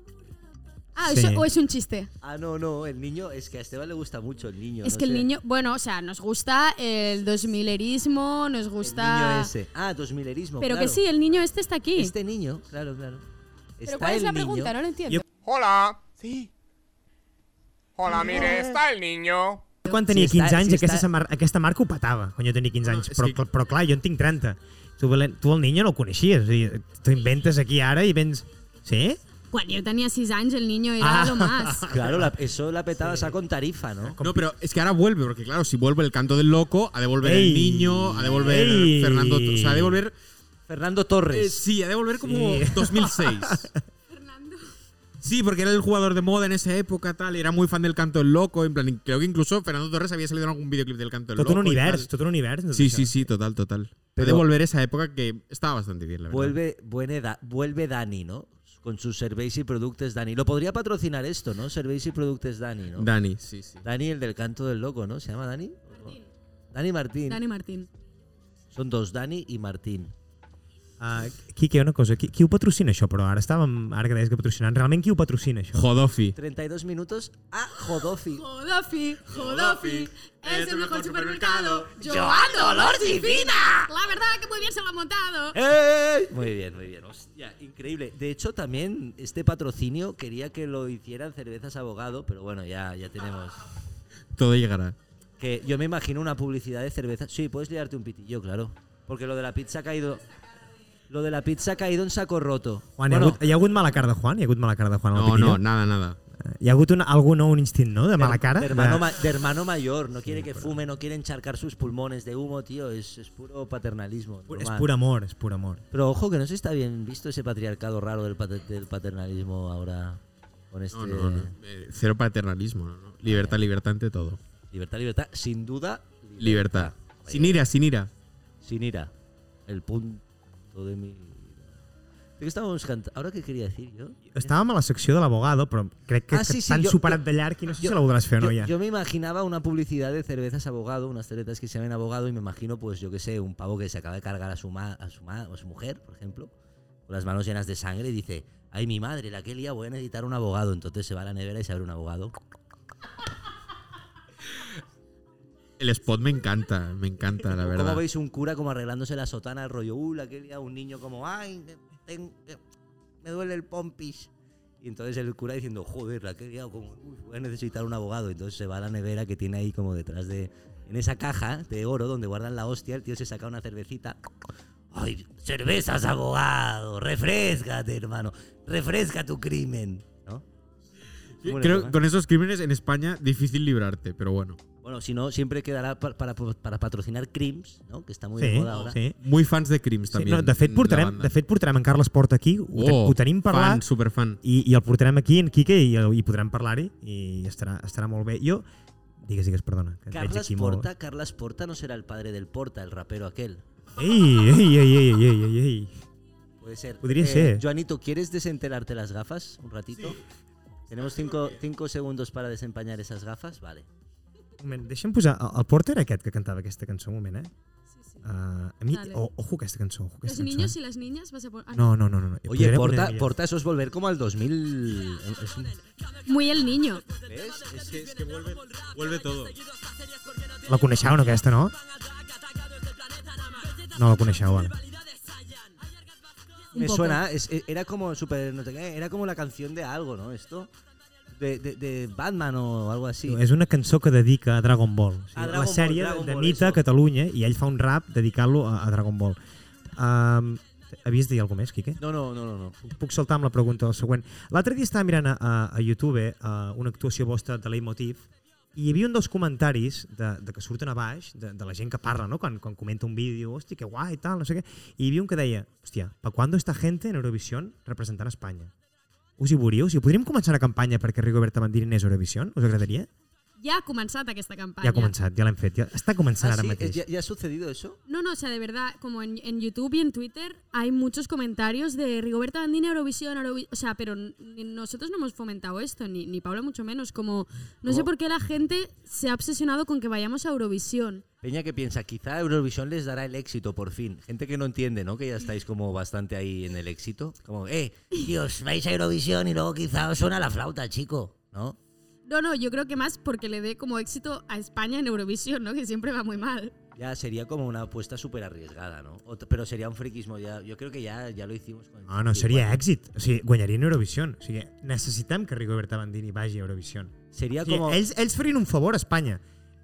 Speaker 2: Ah,
Speaker 4: Sí.
Speaker 2: eso, o es un chiste.
Speaker 1: Ah, no, no, el niño, es que a Esteban le gusta mucho el niño.
Speaker 2: es
Speaker 1: no
Speaker 2: que el
Speaker 1: sé.
Speaker 2: niño, bueno, o sea, nos gusta el 2000erismo, nos
Speaker 1: El
Speaker 2: gusta...
Speaker 1: niño ese. Ah, 2000erismo.
Speaker 2: Pero que
Speaker 1: claro.
Speaker 2: sí, el niño este está aquí.
Speaker 1: Este niño, claro, claro.
Speaker 2: pero
Speaker 1: Está
Speaker 2: ¿cuál es
Speaker 1: el
Speaker 2: la
Speaker 1: niño.
Speaker 2: pregunta? No lo entiendo.
Speaker 5: Hola. Sí. Hola, mire, está el niño.
Speaker 4: Quan tenia
Speaker 1: Si està-
Speaker 4: 15 anys
Speaker 1: si
Speaker 4: aquesta,
Speaker 1: està-
Speaker 4: mar aquesta marca ho petava, quan jo tenia 15 anys.
Speaker 3: és
Speaker 4: Però,
Speaker 3: que-
Speaker 4: cl- però clar, jo en tinc 30. Tu, Belén, tu el niño no el coneixies. O sigui, T'ho inventes aquí ara i vens... Sí?
Speaker 2: Cuando yo tenía 6 años el niño era
Speaker 4: Ah.
Speaker 2: lo más.
Speaker 1: Claro, la- eso la petada saca con tarifa, ¿no?
Speaker 3: No, pero es que ahora vuelve, porque claro, si vuelve el canto del loco, ha de volver el
Speaker 4: Ey.
Speaker 3: niño, ha de volver
Speaker 4: Ey.
Speaker 3: Fernando. O sea, ha de volver.
Speaker 1: Pues Fernando Torres.
Speaker 3: eh, sí, ha de volver como
Speaker 4: Sí.
Speaker 3: 2006. Sí, porque era el jugador de moda en esa época, tal, y era muy fan del canto del loco. En plan, creo que incluso Fernando Torres había salido en algún videoclip del canto del
Speaker 4: Tot
Speaker 3: loco.
Speaker 4: un
Speaker 3: y
Speaker 4: univers,
Speaker 3: tal.
Speaker 4: tot un univers. tot
Speaker 3: Sí,
Speaker 4: això.
Speaker 3: sí, sí, total, total. Pero,
Speaker 1: Pero-
Speaker 3: de volver a esa época que estaba bastante bien, la verdad.
Speaker 1: Vuelve, buena edad- vuelve Dani, ¿no? Con sus Cerveis y Productes Dani. Lo podría patrocinar esto, ¿no? Cerveis y Productes Dani, ¿no?
Speaker 3: Dani, sí, sí.
Speaker 1: Dani, el del canto del loco, ¿no? ¿Se llama Dani? Dani Martín.
Speaker 2: Dani Martín.
Speaker 1: Son dos, Dani y Martín.
Speaker 4: Ah, Quique, una cosa, qui, qui ho patrocina això, però? Ara estàvem, ara que deies que patrocinant, realment qui ho patrocina això?
Speaker 3: Jodofi.
Speaker 1: 32 minutos a Jodofi.
Speaker 2: Jodofi, Jodofi,
Speaker 3: es el mejor supermercado.
Speaker 2: Joan Dolors y Vida. La verdad que muy bien se lo ha montado.
Speaker 1: ¡Ey! Muy bien, muy bien. Hostia, increíble. De hecho, también este patrocinio quería que lo hicieran Cervezas Abogado, pero bueno, ya, ya tenemos.
Speaker 3: Todo llegará.
Speaker 1: Que yo me imagino una publicidad de cerveza. Sí, puedes liarte un pitillo, claro. Porque lo de la pizza ha caído. Lo de la pizza ha caído en saco roto.
Speaker 4: Juan, hi, ha
Speaker 1: Bueno,
Speaker 4: hagut, hi ha hagut mala cara de Juan? Hi ha hagut mala cara de Juan? al
Speaker 3: No,
Speaker 4: Pirineu?
Speaker 3: no, nada, nada.
Speaker 4: Eh, Hi ha hagut una, algú nou, un instint, no?, de mala cara?
Speaker 1: De hermano,
Speaker 4: De-
Speaker 1: ma- de hermano mayor, no quiere que fume, no quiere encharcar sus pulmones de humo, tío. Es, es puro paternalismo.
Speaker 4: és
Speaker 1: normal.
Speaker 4: pur amor, és pur amor.
Speaker 1: Pero ojo que no se está bien visto ese patriarcado raro del, pater- del paternalismo ahora con este
Speaker 3: No, no, no. Eh, Cero paternalismo. no, no. Libertad, libertad ante todo.
Speaker 1: libertad, libertad, sin duda
Speaker 3: Libertad. Sin ira, sin ira.
Speaker 1: sin ira. El punto de mi ¿De qué estábamos cantando? Ahora qué quería decir yo?
Speaker 4: Estàvem a la secció de l'abogado, però crec que,
Speaker 1: Ah, sí, sí,
Speaker 4: t'han
Speaker 1: jo-
Speaker 4: superat
Speaker 1: jo-
Speaker 4: de llarg i no sé si
Speaker 1: jo-
Speaker 4: la voldràs fer
Speaker 1: Yo,
Speaker 4: o no ja.
Speaker 1: yo me imaginaba una publicidad de cervezas abogado, unas cervezas que se llaman abogado, y me imagino, pues yo qué sé, un pavo que se acaba de cargar a su, ma a su, ma- a su mujer, por ejemplo, con las manos llenas de sangre, y dice: Ay, mi madre, la que lía, voy a necesitar un abogado. Entonces se va a la nevera y se abre un abogado.
Speaker 3: El spot me encanta, me encanta, la
Speaker 1: ¿Cómo
Speaker 3: verdad.
Speaker 1: veis un cura como arreglándose la sotana, rollo, uh, la que lía", un niño como, ay, me, ten- me- me duele el pompis. Y entonces el cura diciendo, joder, la que he liado, como, "Uy, voy a necesitar un abogado. Entonces se va a la nevera que tiene ahí como detrás de, en esa caja de oro donde guardan la hostia, el tío se saca una cervecita. Ay, cervezas, abogado, refrescate, hermano, refresca tu crimen, ¿no?
Speaker 3: Yo
Speaker 1: Bueno,
Speaker 3: Creo
Speaker 1: ¿no?
Speaker 3: que con esos crímenes en España difícil librarte, pero bueno.
Speaker 1: Bueno, si no, siempre quedará pa- para, para patrocinar crims, ¿no? Que está muy de
Speaker 4: Sí,
Speaker 1: moda ahora.
Speaker 4: sí.
Speaker 3: Muy fans de crims
Speaker 4: sí
Speaker 3: también.
Speaker 4: no, de, fet,
Speaker 3: la
Speaker 4: portarem,
Speaker 3: banda.
Speaker 4: de fet, portarem en Carles Porta aquí, ho, te-
Speaker 3: Oh,
Speaker 4: ho tenim parlat,
Speaker 3: Fan, superfan.
Speaker 4: i, i el portarem aquí, en Quique, i, i podrem parlar-hi, i estarà, estarà molt bé. Jo, digues, digues, perdona. Que et veig
Speaker 1: Carlas
Speaker 4: aquí molt-
Speaker 1: Porta, Carlas Porta no será el padre del Porta, el rapero aquel.
Speaker 4: Ei, ei, ei, ei, ei, ei, ei.
Speaker 1: Puede ser. Eh,
Speaker 4: Podría ser.
Speaker 1: Joanito, ¿quieres desenterarte las gafas un ratito? Tenemos cinco, cinco segundos para desempañar esas gafas, vale.
Speaker 4: Un moment, deixa'm posar... El, el Porter era aquest que cantava aquesta cançó, un moment, eh? Uh, a mi...
Speaker 2: Dale.
Speaker 4: O, ojo aquesta cançó, ojo
Speaker 2: Los
Speaker 4: aquesta cançó. eh?
Speaker 2: niños y las niñas vas a poner. ah,
Speaker 4: No, no, no, no. no.
Speaker 1: Oye,
Speaker 4: Posarem
Speaker 1: Porta,
Speaker 4: una-
Speaker 1: Porta, eso es volver como al 2000. Es un-
Speaker 2: Muy el niño.
Speaker 1: ¿Ves? Es-
Speaker 3: que vuelve, todo.
Speaker 4: La coneixeu, no, aquesta, no? No la coneixeu, ara.
Speaker 2: Un
Speaker 1: me
Speaker 2: poco.
Speaker 1: suena, es- e- era como super, no sé qué, era como la canción de algo, ¿no? Esto. De, de- de Batman o algo así.
Speaker 4: És una cançó que dedica a Dragon Ball. O sigui,
Speaker 1: A Dragon
Speaker 4: la
Speaker 1: Ball,
Speaker 4: sèrie
Speaker 1: Dragon
Speaker 4: de
Speaker 1: Ball,
Speaker 4: Nita
Speaker 1: eso.
Speaker 4: a Catalunya i ell fa un rap dedicant-lo a, a Dragon Ball. Um, havies de dir alguna més, Quique?
Speaker 1: No, no, no, no, no.
Speaker 4: Puc saltar amb la pregunta del següent. L'altre dia estava mirant a, a, a YouTube eh, a una actuació vostra de Leitmotiv i hi havia un dels comentaris de, de que surten a baix, de, de la gent que parla, no? quan, quan comenta un vídeo, hòstia, que guai, tal, no sé què, i hi havia un que deia, hòstia, pa quando esta gente en Eurovisión representant Espanya? Us hi veuríeu? O sigui, podríem començar una campanya perquè Rigoberta Bandini és Eurovisión? Us agradaria?
Speaker 2: Ya ha comenzado esta campaña.
Speaker 4: Ja ha començat, ja l'hem fet. Ja està començant
Speaker 1: Ah,
Speaker 4: ara
Speaker 1: sí,
Speaker 4: mateix.
Speaker 1: ¿Ya, ya ha sucedido eso?
Speaker 2: No, no, o sea, de verdad, como en, en YouTube y en Twitter hay muchos comentarios de Rigoberta Bandini, Eurovisión, Eurovi- o sea, pero ni- nosotros no hemos fomentado esto, ni, ni Paula mucho menos, como no sé
Speaker 1: ¿Cómo?
Speaker 2: por qué la gente se ha obsesionado con que vayamos a Eurovisión.
Speaker 1: Peña que piensa, quizá Eurovisión les dará el éxito por fin. Gente que no entiende, ¿no? Que ya estáis como bastante ahí en el éxito. Como, eh, Dios, vais a Eurovisión y luego quizá os suena la flauta, chico, ¿no?
Speaker 2: No, no, yo creo que más porque le dé como éxito a España en Eurovisión, ¿no? Que siempre va muy mal.
Speaker 1: Ya sería como una apuesta súper arriesgada, ¿no? Ot- pero sería un friquismo, ya, yo creo que ya, ya lo hicimos con el
Speaker 4: Ah, No, no, seria èxit. O sigui, guanyaria en Eurovisió. O sigui, necessitem que Rigoberta Bandini vagi a Eurovisió.
Speaker 1: Sería
Speaker 3: Eh,
Speaker 4: O sigui,
Speaker 1: como,
Speaker 4: ells, ells farien un favor a Espanya.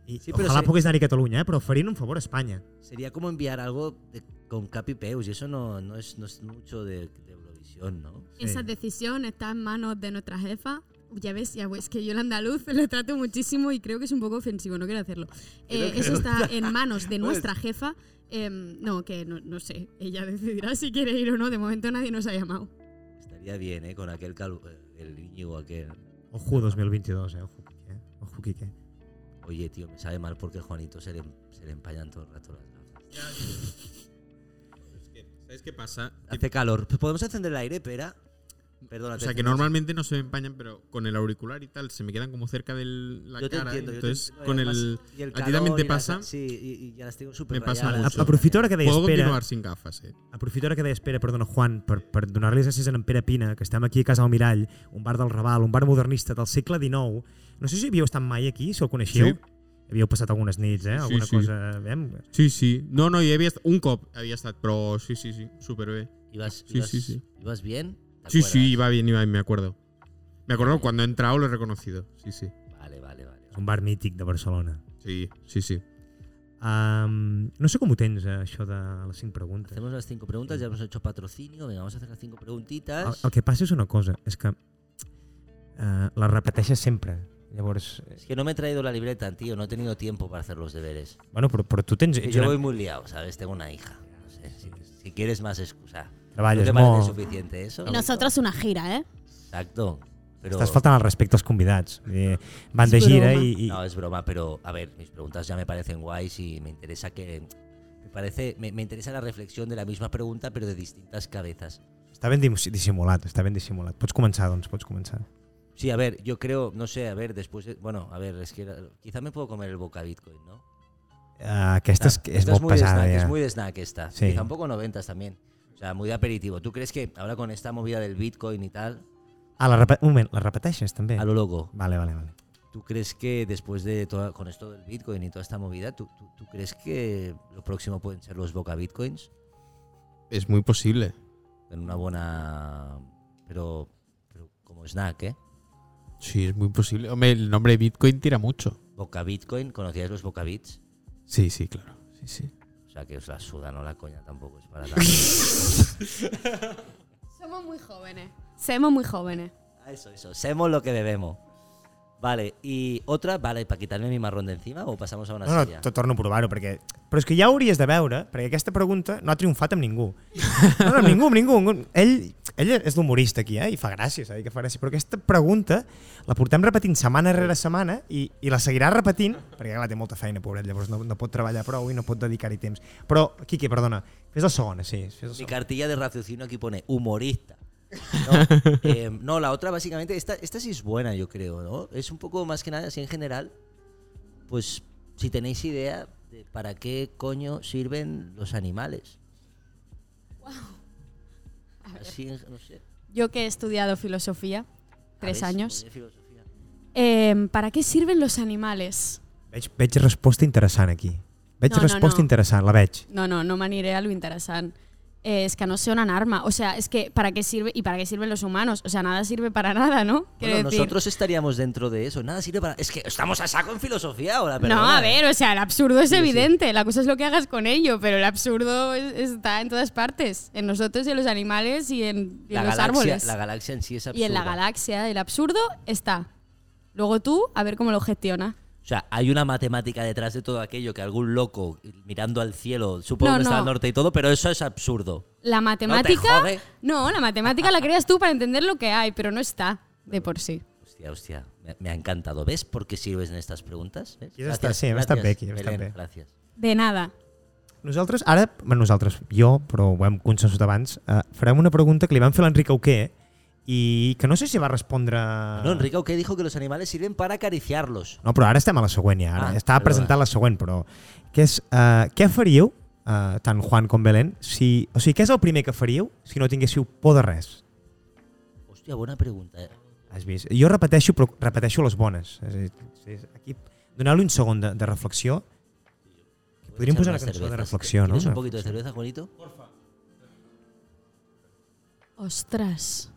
Speaker 4: I,
Speaker 1: Sí,
Speaker 4: sí,
Speaker 1: però
Speaker 4: ojalà
Speaker 1: se-
Speaker 4: pogués anar-hi a Catalunya, eh? però farien un favor a Espanya.
Speaker 1: sería como enviar algo de- con capipeus y eso no, no, es, no es mucho de, de Eurovisión, ¿no?
Speaker 4: Sí.
Speaker 2: Esa decisión está en manos de nuestra jefa. Ya ves, ya ves que yo el andaluz lo trato muchísimo y creo que es un poco ofensivo, no quiero hacerlo. Eh, eso está en manos
Speaker 1: Pues
Speaker 2: de nuestra jefa.
Speaker 1: Ah,
Speaker 2: Em, no, que no, no sé, ella decidirá si quiere ir o no. De momento nadie nos ha llamado.
Speaker 1: Está Estaría bien, ¿eh? Con aquel calvo, el Íñigo aquel.
Speaker 4: Ojo 2022, eh? Ojo, Quique. Ojo, Quique.
Speaker 1: Oye, tío, me sabe mal porque Juanito se le, se le empañan todo el rato las gafas.
Speaker 3: ¿Sabes qué pasa?
Speaker 1: Hace calor. ¿Podemos encender el aire, pera? Perdona,
Speaker 3: O sea, que normalmente no se me empañan, pero con el auricular y tal, se me quedan como cerca de la
Speaker 1: Yo te
Speaker 3: cara.
Speaker 1: entiendo, yo te
Speaker 3: entonces,
Speaker 1: entiendo,
Speaker 3: con
Speaker 1: además,
Speaker 3: el,
Speaker 1: y
Speaker 3: A ti también
Speaker 1: calor
Speaker 3: te
Speaker 1: y las-
Speaker 3: pasa.
Speaker 1: Sí, y, y ya las tengo súper
Speaker 3: pasa
Speaker 1: rayadas.
Speaker 3: mucho.
Speaker 4: A- Aprofito ara que deia
Speaker 3: eh. Puedo
Speaker 4: espera.
Speaker 3: continuar sin gafas, eh.
Speaker 4: Aprofito ara que deia espera, perdona, Juan, per, per donar-li les gràcies a en Pere Pina, que estem aquí a Casa del Mirall, un bar del Raval, un bar modernista del segle XIX. No sé si havíeu estat mai aquí, si el coneixeu.
Speaker 3: Sí.
Speaker 4: Havíeu passat algunes nits, eh?
Speaker 3: Sí,
Speaker 4: Alguna
Speaker 3: sí.
Speaker 4: cosa... Veiem,
Speaker 3: Sí, sí. No, no, hi havia estat, un cop havia estat, però sí, sí, sí, superbé.
Speaker 1: ¿Ibas,
Speaker 3: Sí,
Speaker 1: ibas-
Speaker 3: sí, sí.
Speaker 1: ibas bien? ¿Te
Speaker 3: Sí,
Speaker 1: acuerdas?
Speaker 3: sí, iba bien, iba bien, me acuerdo. Me acuerdo cuando he entrado lo he reconocido. Sí, sí.
Speaker 1: Vale, vale, vale.
Speaker 4: és un bar mític de Barcelona.
Speaker 3: Sí, sí, sí.
Speaker 4: Um, no sé com ho tens, eh, això de les cinc preguntes.
Speaker 1: Hacemos las cinco preguntas, ya hemos hecho patrocinio. Venga, vamos a hacer las cinco preguntitas.
Speaker 4: El, el que passa és una cosa, és que eh, la repeteixes sempre. Llavors, eh,
Speaker 1: Es que no me he traído la libreta, tío. No he tenido tiempo para hacer los deberes.
Speaker 4: bueno, però, però tu tens...
Speaker 1: Que
Speaker 4: ets
Speaker 1: yo
Speaker 4: una-
Speaker 1: voy muy liado, ¿sabes? Tengo una hija. No sé, si, si quieres más excusa.
Speaker 4: Treballes
Speaker 1: ¿No te parece
Speaker 4: molt.
Speaker 1: suficiente eso?
Speaker 2: Y nosotros una gira, ¿eh?
Speaker 1: Exacto. Pero...
Speaker 4: Estàs faltant al respecte als convidats. Vull dir, Van de
Speaker 2: És
Speaker 4: gira
Speaker 2: broma.
Speaker 4: i... i
Speaker 1: No, es broma, pero a ver, mis preguntas ya me parecen guays y me interesa que. Me, parece, me, me interesa la reflexión de la misma pregunta, pero de distintas cabezas.
Speaker 4: Està ben dimu- dissimulat, està ben dissimulat. Pots començar, doncs, pots començar.
Speaker 1: Sí, a ver, yo creo, no sé, a ver, después. de- bueno, a ver, es que era- quizá me puedo comer el boca Bitcoin, ¿no?
Speaker 4: Uh, aquesta és, és
Speaker 1: Esta
Speaker 4: molt
Speaker 1: de
Speaker 4: pesada,
Speaker 1: snack,
Speaker 4: ja.
Speaker 1: Es muy de snack esta.
Speaker 4: Sí.
Speaker 1: Quizá un poco noventas también. O sea, muy de aperitivo. ¿Tú crees que ahora con esta movida del Bitcoin y tal,
Speaker 4: Ah, la repe... un moment, la repeteixes, també?
Speaker 1: a lo loco,
Speaker 4: Vale, vale, vale.
Speaker 1: ¿tú crees que después de toda, con esto del Bitcoin y toda esta movida, ¿tú, tú, tú crees que lo próximo pueden ser los boca Bitcoins?
Speaker 3: Es muy posible.
Speaker 1: en una buena. Pero, pero como snack, ¿eh?
Speaker 3: Sí, es muy posible. Hombre, el nombre Bitcoin tira mucho.
Speaker 1: Boca Bitcoin, ¿conocíais los Boca Bits?
Speaker 3: Sí, sí, claro. Sí, sí.
Speaker 1: O sea que os la suda, no la coña tampoco es para tanto.
Speaker 2: Somos muy jóvenes. Somos muy jóvenes.
Speaker 1: Ah, eso, eso. Semos lo que debemos. Vale, y otra, vale, para quitarme mi marrón de encima o pasamos a una
Speaker 4: No, no,
Speaker 1: seria?
Speaker 4: te torno a provar-ho, perquè... Però és que ja ho hauries de veure, perquè aquesta pregunta no ha triomfat amb ningú. No, no, amb ningú, amb ningú. amb ningú. Ell, ell és l'humorista aquí, eh? I fa gràcia, s'ha dit que fa gràcia. Però aquesta pregunta la portem repetint setmana rere setmana i, i la seguirà repetint, perquè clar, té molta feina, pobret, llavors no, no pot treballar prou i no pot dedicar-hi temps. Però, Quique, perdona, fes la segona, sí. Fes la
Speaker 1: Mi
Speaker 4: segona.
Speaker 1: cartilla de raciocinio aquí pone humorista. No, eh, no, la otra básicamente, esta, esta sí es buena, yo creo, ¿no? Es un poco más que nada, así en general, pues si tenéis idea de para qué coño sirven los animales. Así, en- no sé.
Speaker 2: Yo que he estudiado filosofía, tres
Speaker 1: A ver,
Speaker 2: años.
Speaker 1: podría filosofía.
Speaker 2: Eh, ¿Para qué sirven los animales?
Speaker 4: Veig, veig resposta interessant aquí. Veig
Speaker 2: No, no,
Speaker 4: resposta
Speaker 2: no.
Speaker 4: interessant, la veig.
Speaker 2: No, no, no maniré a lo interesante. Eh, es que no sea una arma. O sea, es que ¿para qué sirve y para qué sirven los humanos? O sea, nada sirve para nada, ¿no? Quiero
Speaker 1: Bueno,
Speaker 2: decir-
Speaker 1: nosotros estaríamos dentro de eso. Nada sirve para. Es que estamos a saco en filosofía ahora, ¿eh? pero.
Speaker 2: No, a ver, o sea, el absurdo es evidente. La cosa es lo que hagas con ello, pero el absurdo es- está en todas partes. En nosotros y en los animales y en, y
Speaker 1: La
Speaker 2: en los
Speaker 1: galaxia,
Speaker 2: árboles.
Speaker 1: la galaxia en sí es absurda.
Speaker 2: y en la galaxia, el absurdo está. Luego tú, a ver cómo lo gestiona.
Speaker 1: O sea, hay una matemática detrás de todo aquello que algún loco mirando al cielo supo
Speaker 2: No,
Speaker 1: dónde está
Speaker 2: no.
Speaker 1: el norte y todo, pero eso es absurdo.
Speaker 2: La matemática.
Speaker 1: jode.
Speaker 2: No, la matemática la creas tú para entender lo que hay, pero no está de por sí.
Speaker 1: Hostia, hostia, me, me ha encantado. ¿Ves por qué sirves en estas preguntas? ¿Ves?
Speaker 4: Ya está, sí, va a estar
Speaker 1: gracias,
Speaker 4: bien aquí, va a estar
Speaker 1: Belén,
Speaker 4: bien.
Speaker 1: gracias.
Speaker 2: De nada.
Speaker 4: Nosaltres, ara, bueno, nosaltres, jo, però ho hem consensut abans, eh, farem una pregunta que li vam fer a l'Enric Auqué i que no sé si va respondre...
Speaker 1: No, Enrique que dijo que los animales sirven para acariciarlos.
Speaker 4: No, però ara estem a la següent ja. Ara.
Speaker 1: Ah,
Speaker 4: Ah, Estava
Speaker 1: perdona.
Speaker 4: presentant la següent, però... Que és, eh, què faríeu, eh, tant Juan com Belén, si, o sigui, què és el primer que faríeu si no tinguéssiu por de res?
Speaker 1: Hostia, buena pregunta. eh.
Speaker 4: Has vist? Jo repeteixo, però repeteixo les bones. És a dir, sí, aquí, doneu-li un segon de, de reflexió.
Speaker 1: Voy a echar
Speaker 4: podríem posar
Speaker 1: unas
Speaker 4: una cançó de
Speaker 1: cervezas.
Speaker 4: reflexión,
Speaker 1: ¿Quieres
Speaker 4: ¿no?
Speaker 1: un poquito de cerveza, Juanito?
Speaker 2: Ostres.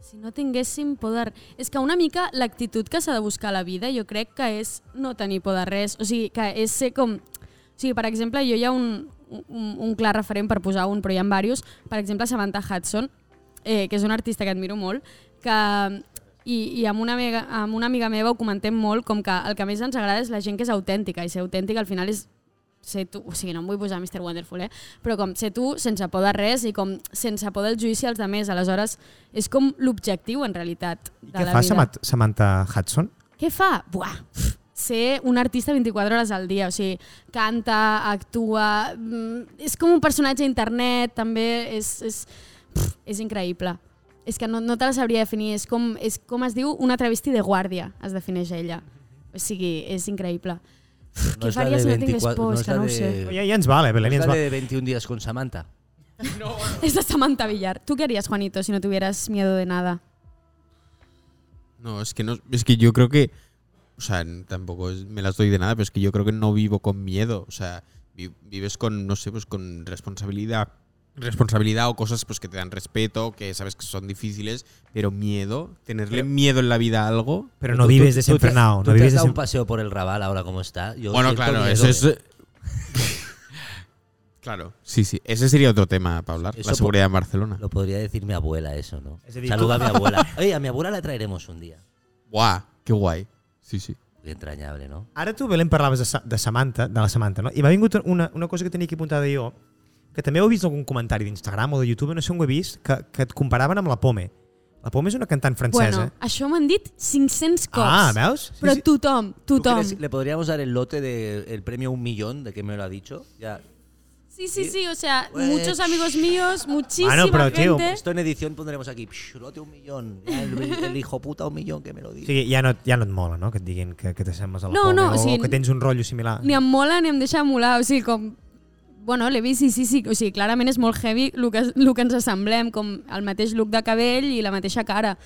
Speaker 2: Si no tinguéssim por de... És que una mica l'actitud que s'ha de buscar a la vida jo crec que és no tenir por de res. O sigui, que és ser com... O sigui, per exemple, jo hi ha un, un, un clar referent per posar un, però hi ha diversos. Per exemple, Samantha Hudson, eh, que és una artista que admiro molt, que i, i amb, una amiga, amb una amiga meva ho comentem molt, com que el que més ens agrada és la gent que és autèntica, i ser autèntica al final és ser tu, o sigui, no em vull posar Mr. Wonderful, eh? però com ser tu sense por de res i com sense por del judici als demés, aleshores és com l'objectiu en realitat de
Speaker 4: I què
Speaker 2: la
Speaker 4: fa
Speaker 2: vida.
Speaker 4: Samat- Samantha Hudson?
Speaker 2: Què fa? Buah, ser un artista 24 hores al dia, o sigui, canta, actua, mm, és com un personatge a internet, també és, és, pff, és increïble. És que no, no te la sabria definir, és com, és com es diu una travesti de guàrdia, es defineix ella. O sigui, és increïble. Pff,
Speaker 1: No
Speaker 2: Què
Speaker 1: és la
Speaker 2: faria
Speaker 1: de
Speaker 2: si no tingués
Speaker 1: 24
Speaker 2: por?
Speaker 1: no
Speaker 2: és
Speaker 1: és
Speaker 2: que
Speaker 1: la
Speaker 2: no ho
Speaker 1: de-
Speaker 2: sé.
Speaker 4: Ja, ja ens val, eh, Belén,
Speaker 1: Es
Speaker 4: ja ens
Speaker 1: la
Speaker 4: val.
Speaker 1: de 21 días con Samantha.
Speaker 2: És de Samantha Villar. Tu què haries, Juanito, si no tuvieras miedo de nada?
Speaker 3: No, es que no, es que yo creo que, o sea, n- tampoco es- me las doy de nada, pero es que yo creo que no vivo con miedo, o sea, vi- vives con, no sé, pues con responsabilidad, responsabilidad o cosas pues que te dan respeto, que sabes que son difíciles, pero miedo, tenerle miedo en la vida a algo.
Speaker 4: Pero no
Speaker 1: Tú- tú- tú
Speaker 4: vives
Speaker 1: te-
Speaker 4: desenfrenado.
Speaker 1: Tú te
Speaker 4: No
Speaker 1: has
Speaker 4: vives
Speaker 1: dado un
Speaker 4: desenfrenado.
Speaker 1: paseo por el Raval ahora como está. Yo
Speaker 3: Bueno,
Speaker 1: siento
Speaker 3: claro,
Speaker 1: miedo,
Speaker 3: eso es
Speaker 1: ¿eh?
Speaker 3: Claro, sí, sí, ese sería otro tema para hablar,
Speaker 1: Eso
Speaker 3: la
Speaker 1: po-
Speaker 3: seguridad en Barcelona.
Speaker 1: Lo podría decir mi abuela eso, ¿no?
Speaker 4: Es decir,
Speaker 1: Saluda a mi abuela. Oye, a mi abuela la traeremos un día.
Speaker 3: Guau, qué guay. Sí, sí.
Speaker 1: Qué entrañable, ¿no?
Speaker 4: Ara tu, Belén, parlaves de, Sa- de Samantha, de la Samantha, no? I m'ha vingut una, una cosa que tenia aquí apuntada jo, que també heu vist en algun comentari d'Instagram o de YouTube, no sé on ho he vist, que, que et comparaven amb la Pome. La Pome és una cantant francesa.
Speaker 2: Bueno, això m'han dit 500 cops.
Speaker 4: ah, veus?
Speaker 2: Però tothom,
Speaker 1: ¿Tú
Speaker 2: tothom.
Speaker 1: crees- ¿Le podríamos dar el lote del premio un millón de que me lo ha dicho? Ya.
Speaker 2: Sí, sí, sí, o sea,
Speaker 1: Pues-
Speaker 2: muchos amigos míos, muchísima
Speaker 4: Bueno, pero, tío,
Speaker 2: gente.
Speaker 1: Esto en edición pondremos aquí, "Psh, lote un millón, ya el, el hijo puta un millón que me lo
Speaker 4: O
Speaker 1: diga.
Speaker 4: sigui, ja no, ja no et mola, no?, que et diguin que, que t'assembles a la
Speaker 2: No,
Speaker 4: Pome
Speaker 2: no, o
Speaker 4: o,
Speaker 2: sigui,
Speaker 4: o que tens un rotllo similar.
Speaker 2: Ni em mola ni em deixa molar, o sigui, com... Bueno, l'he vist i sí, sí, o sigui, clarament és molt heavy el que, el que ens assemblem, com el mateix look de cabell i la mateixa cara.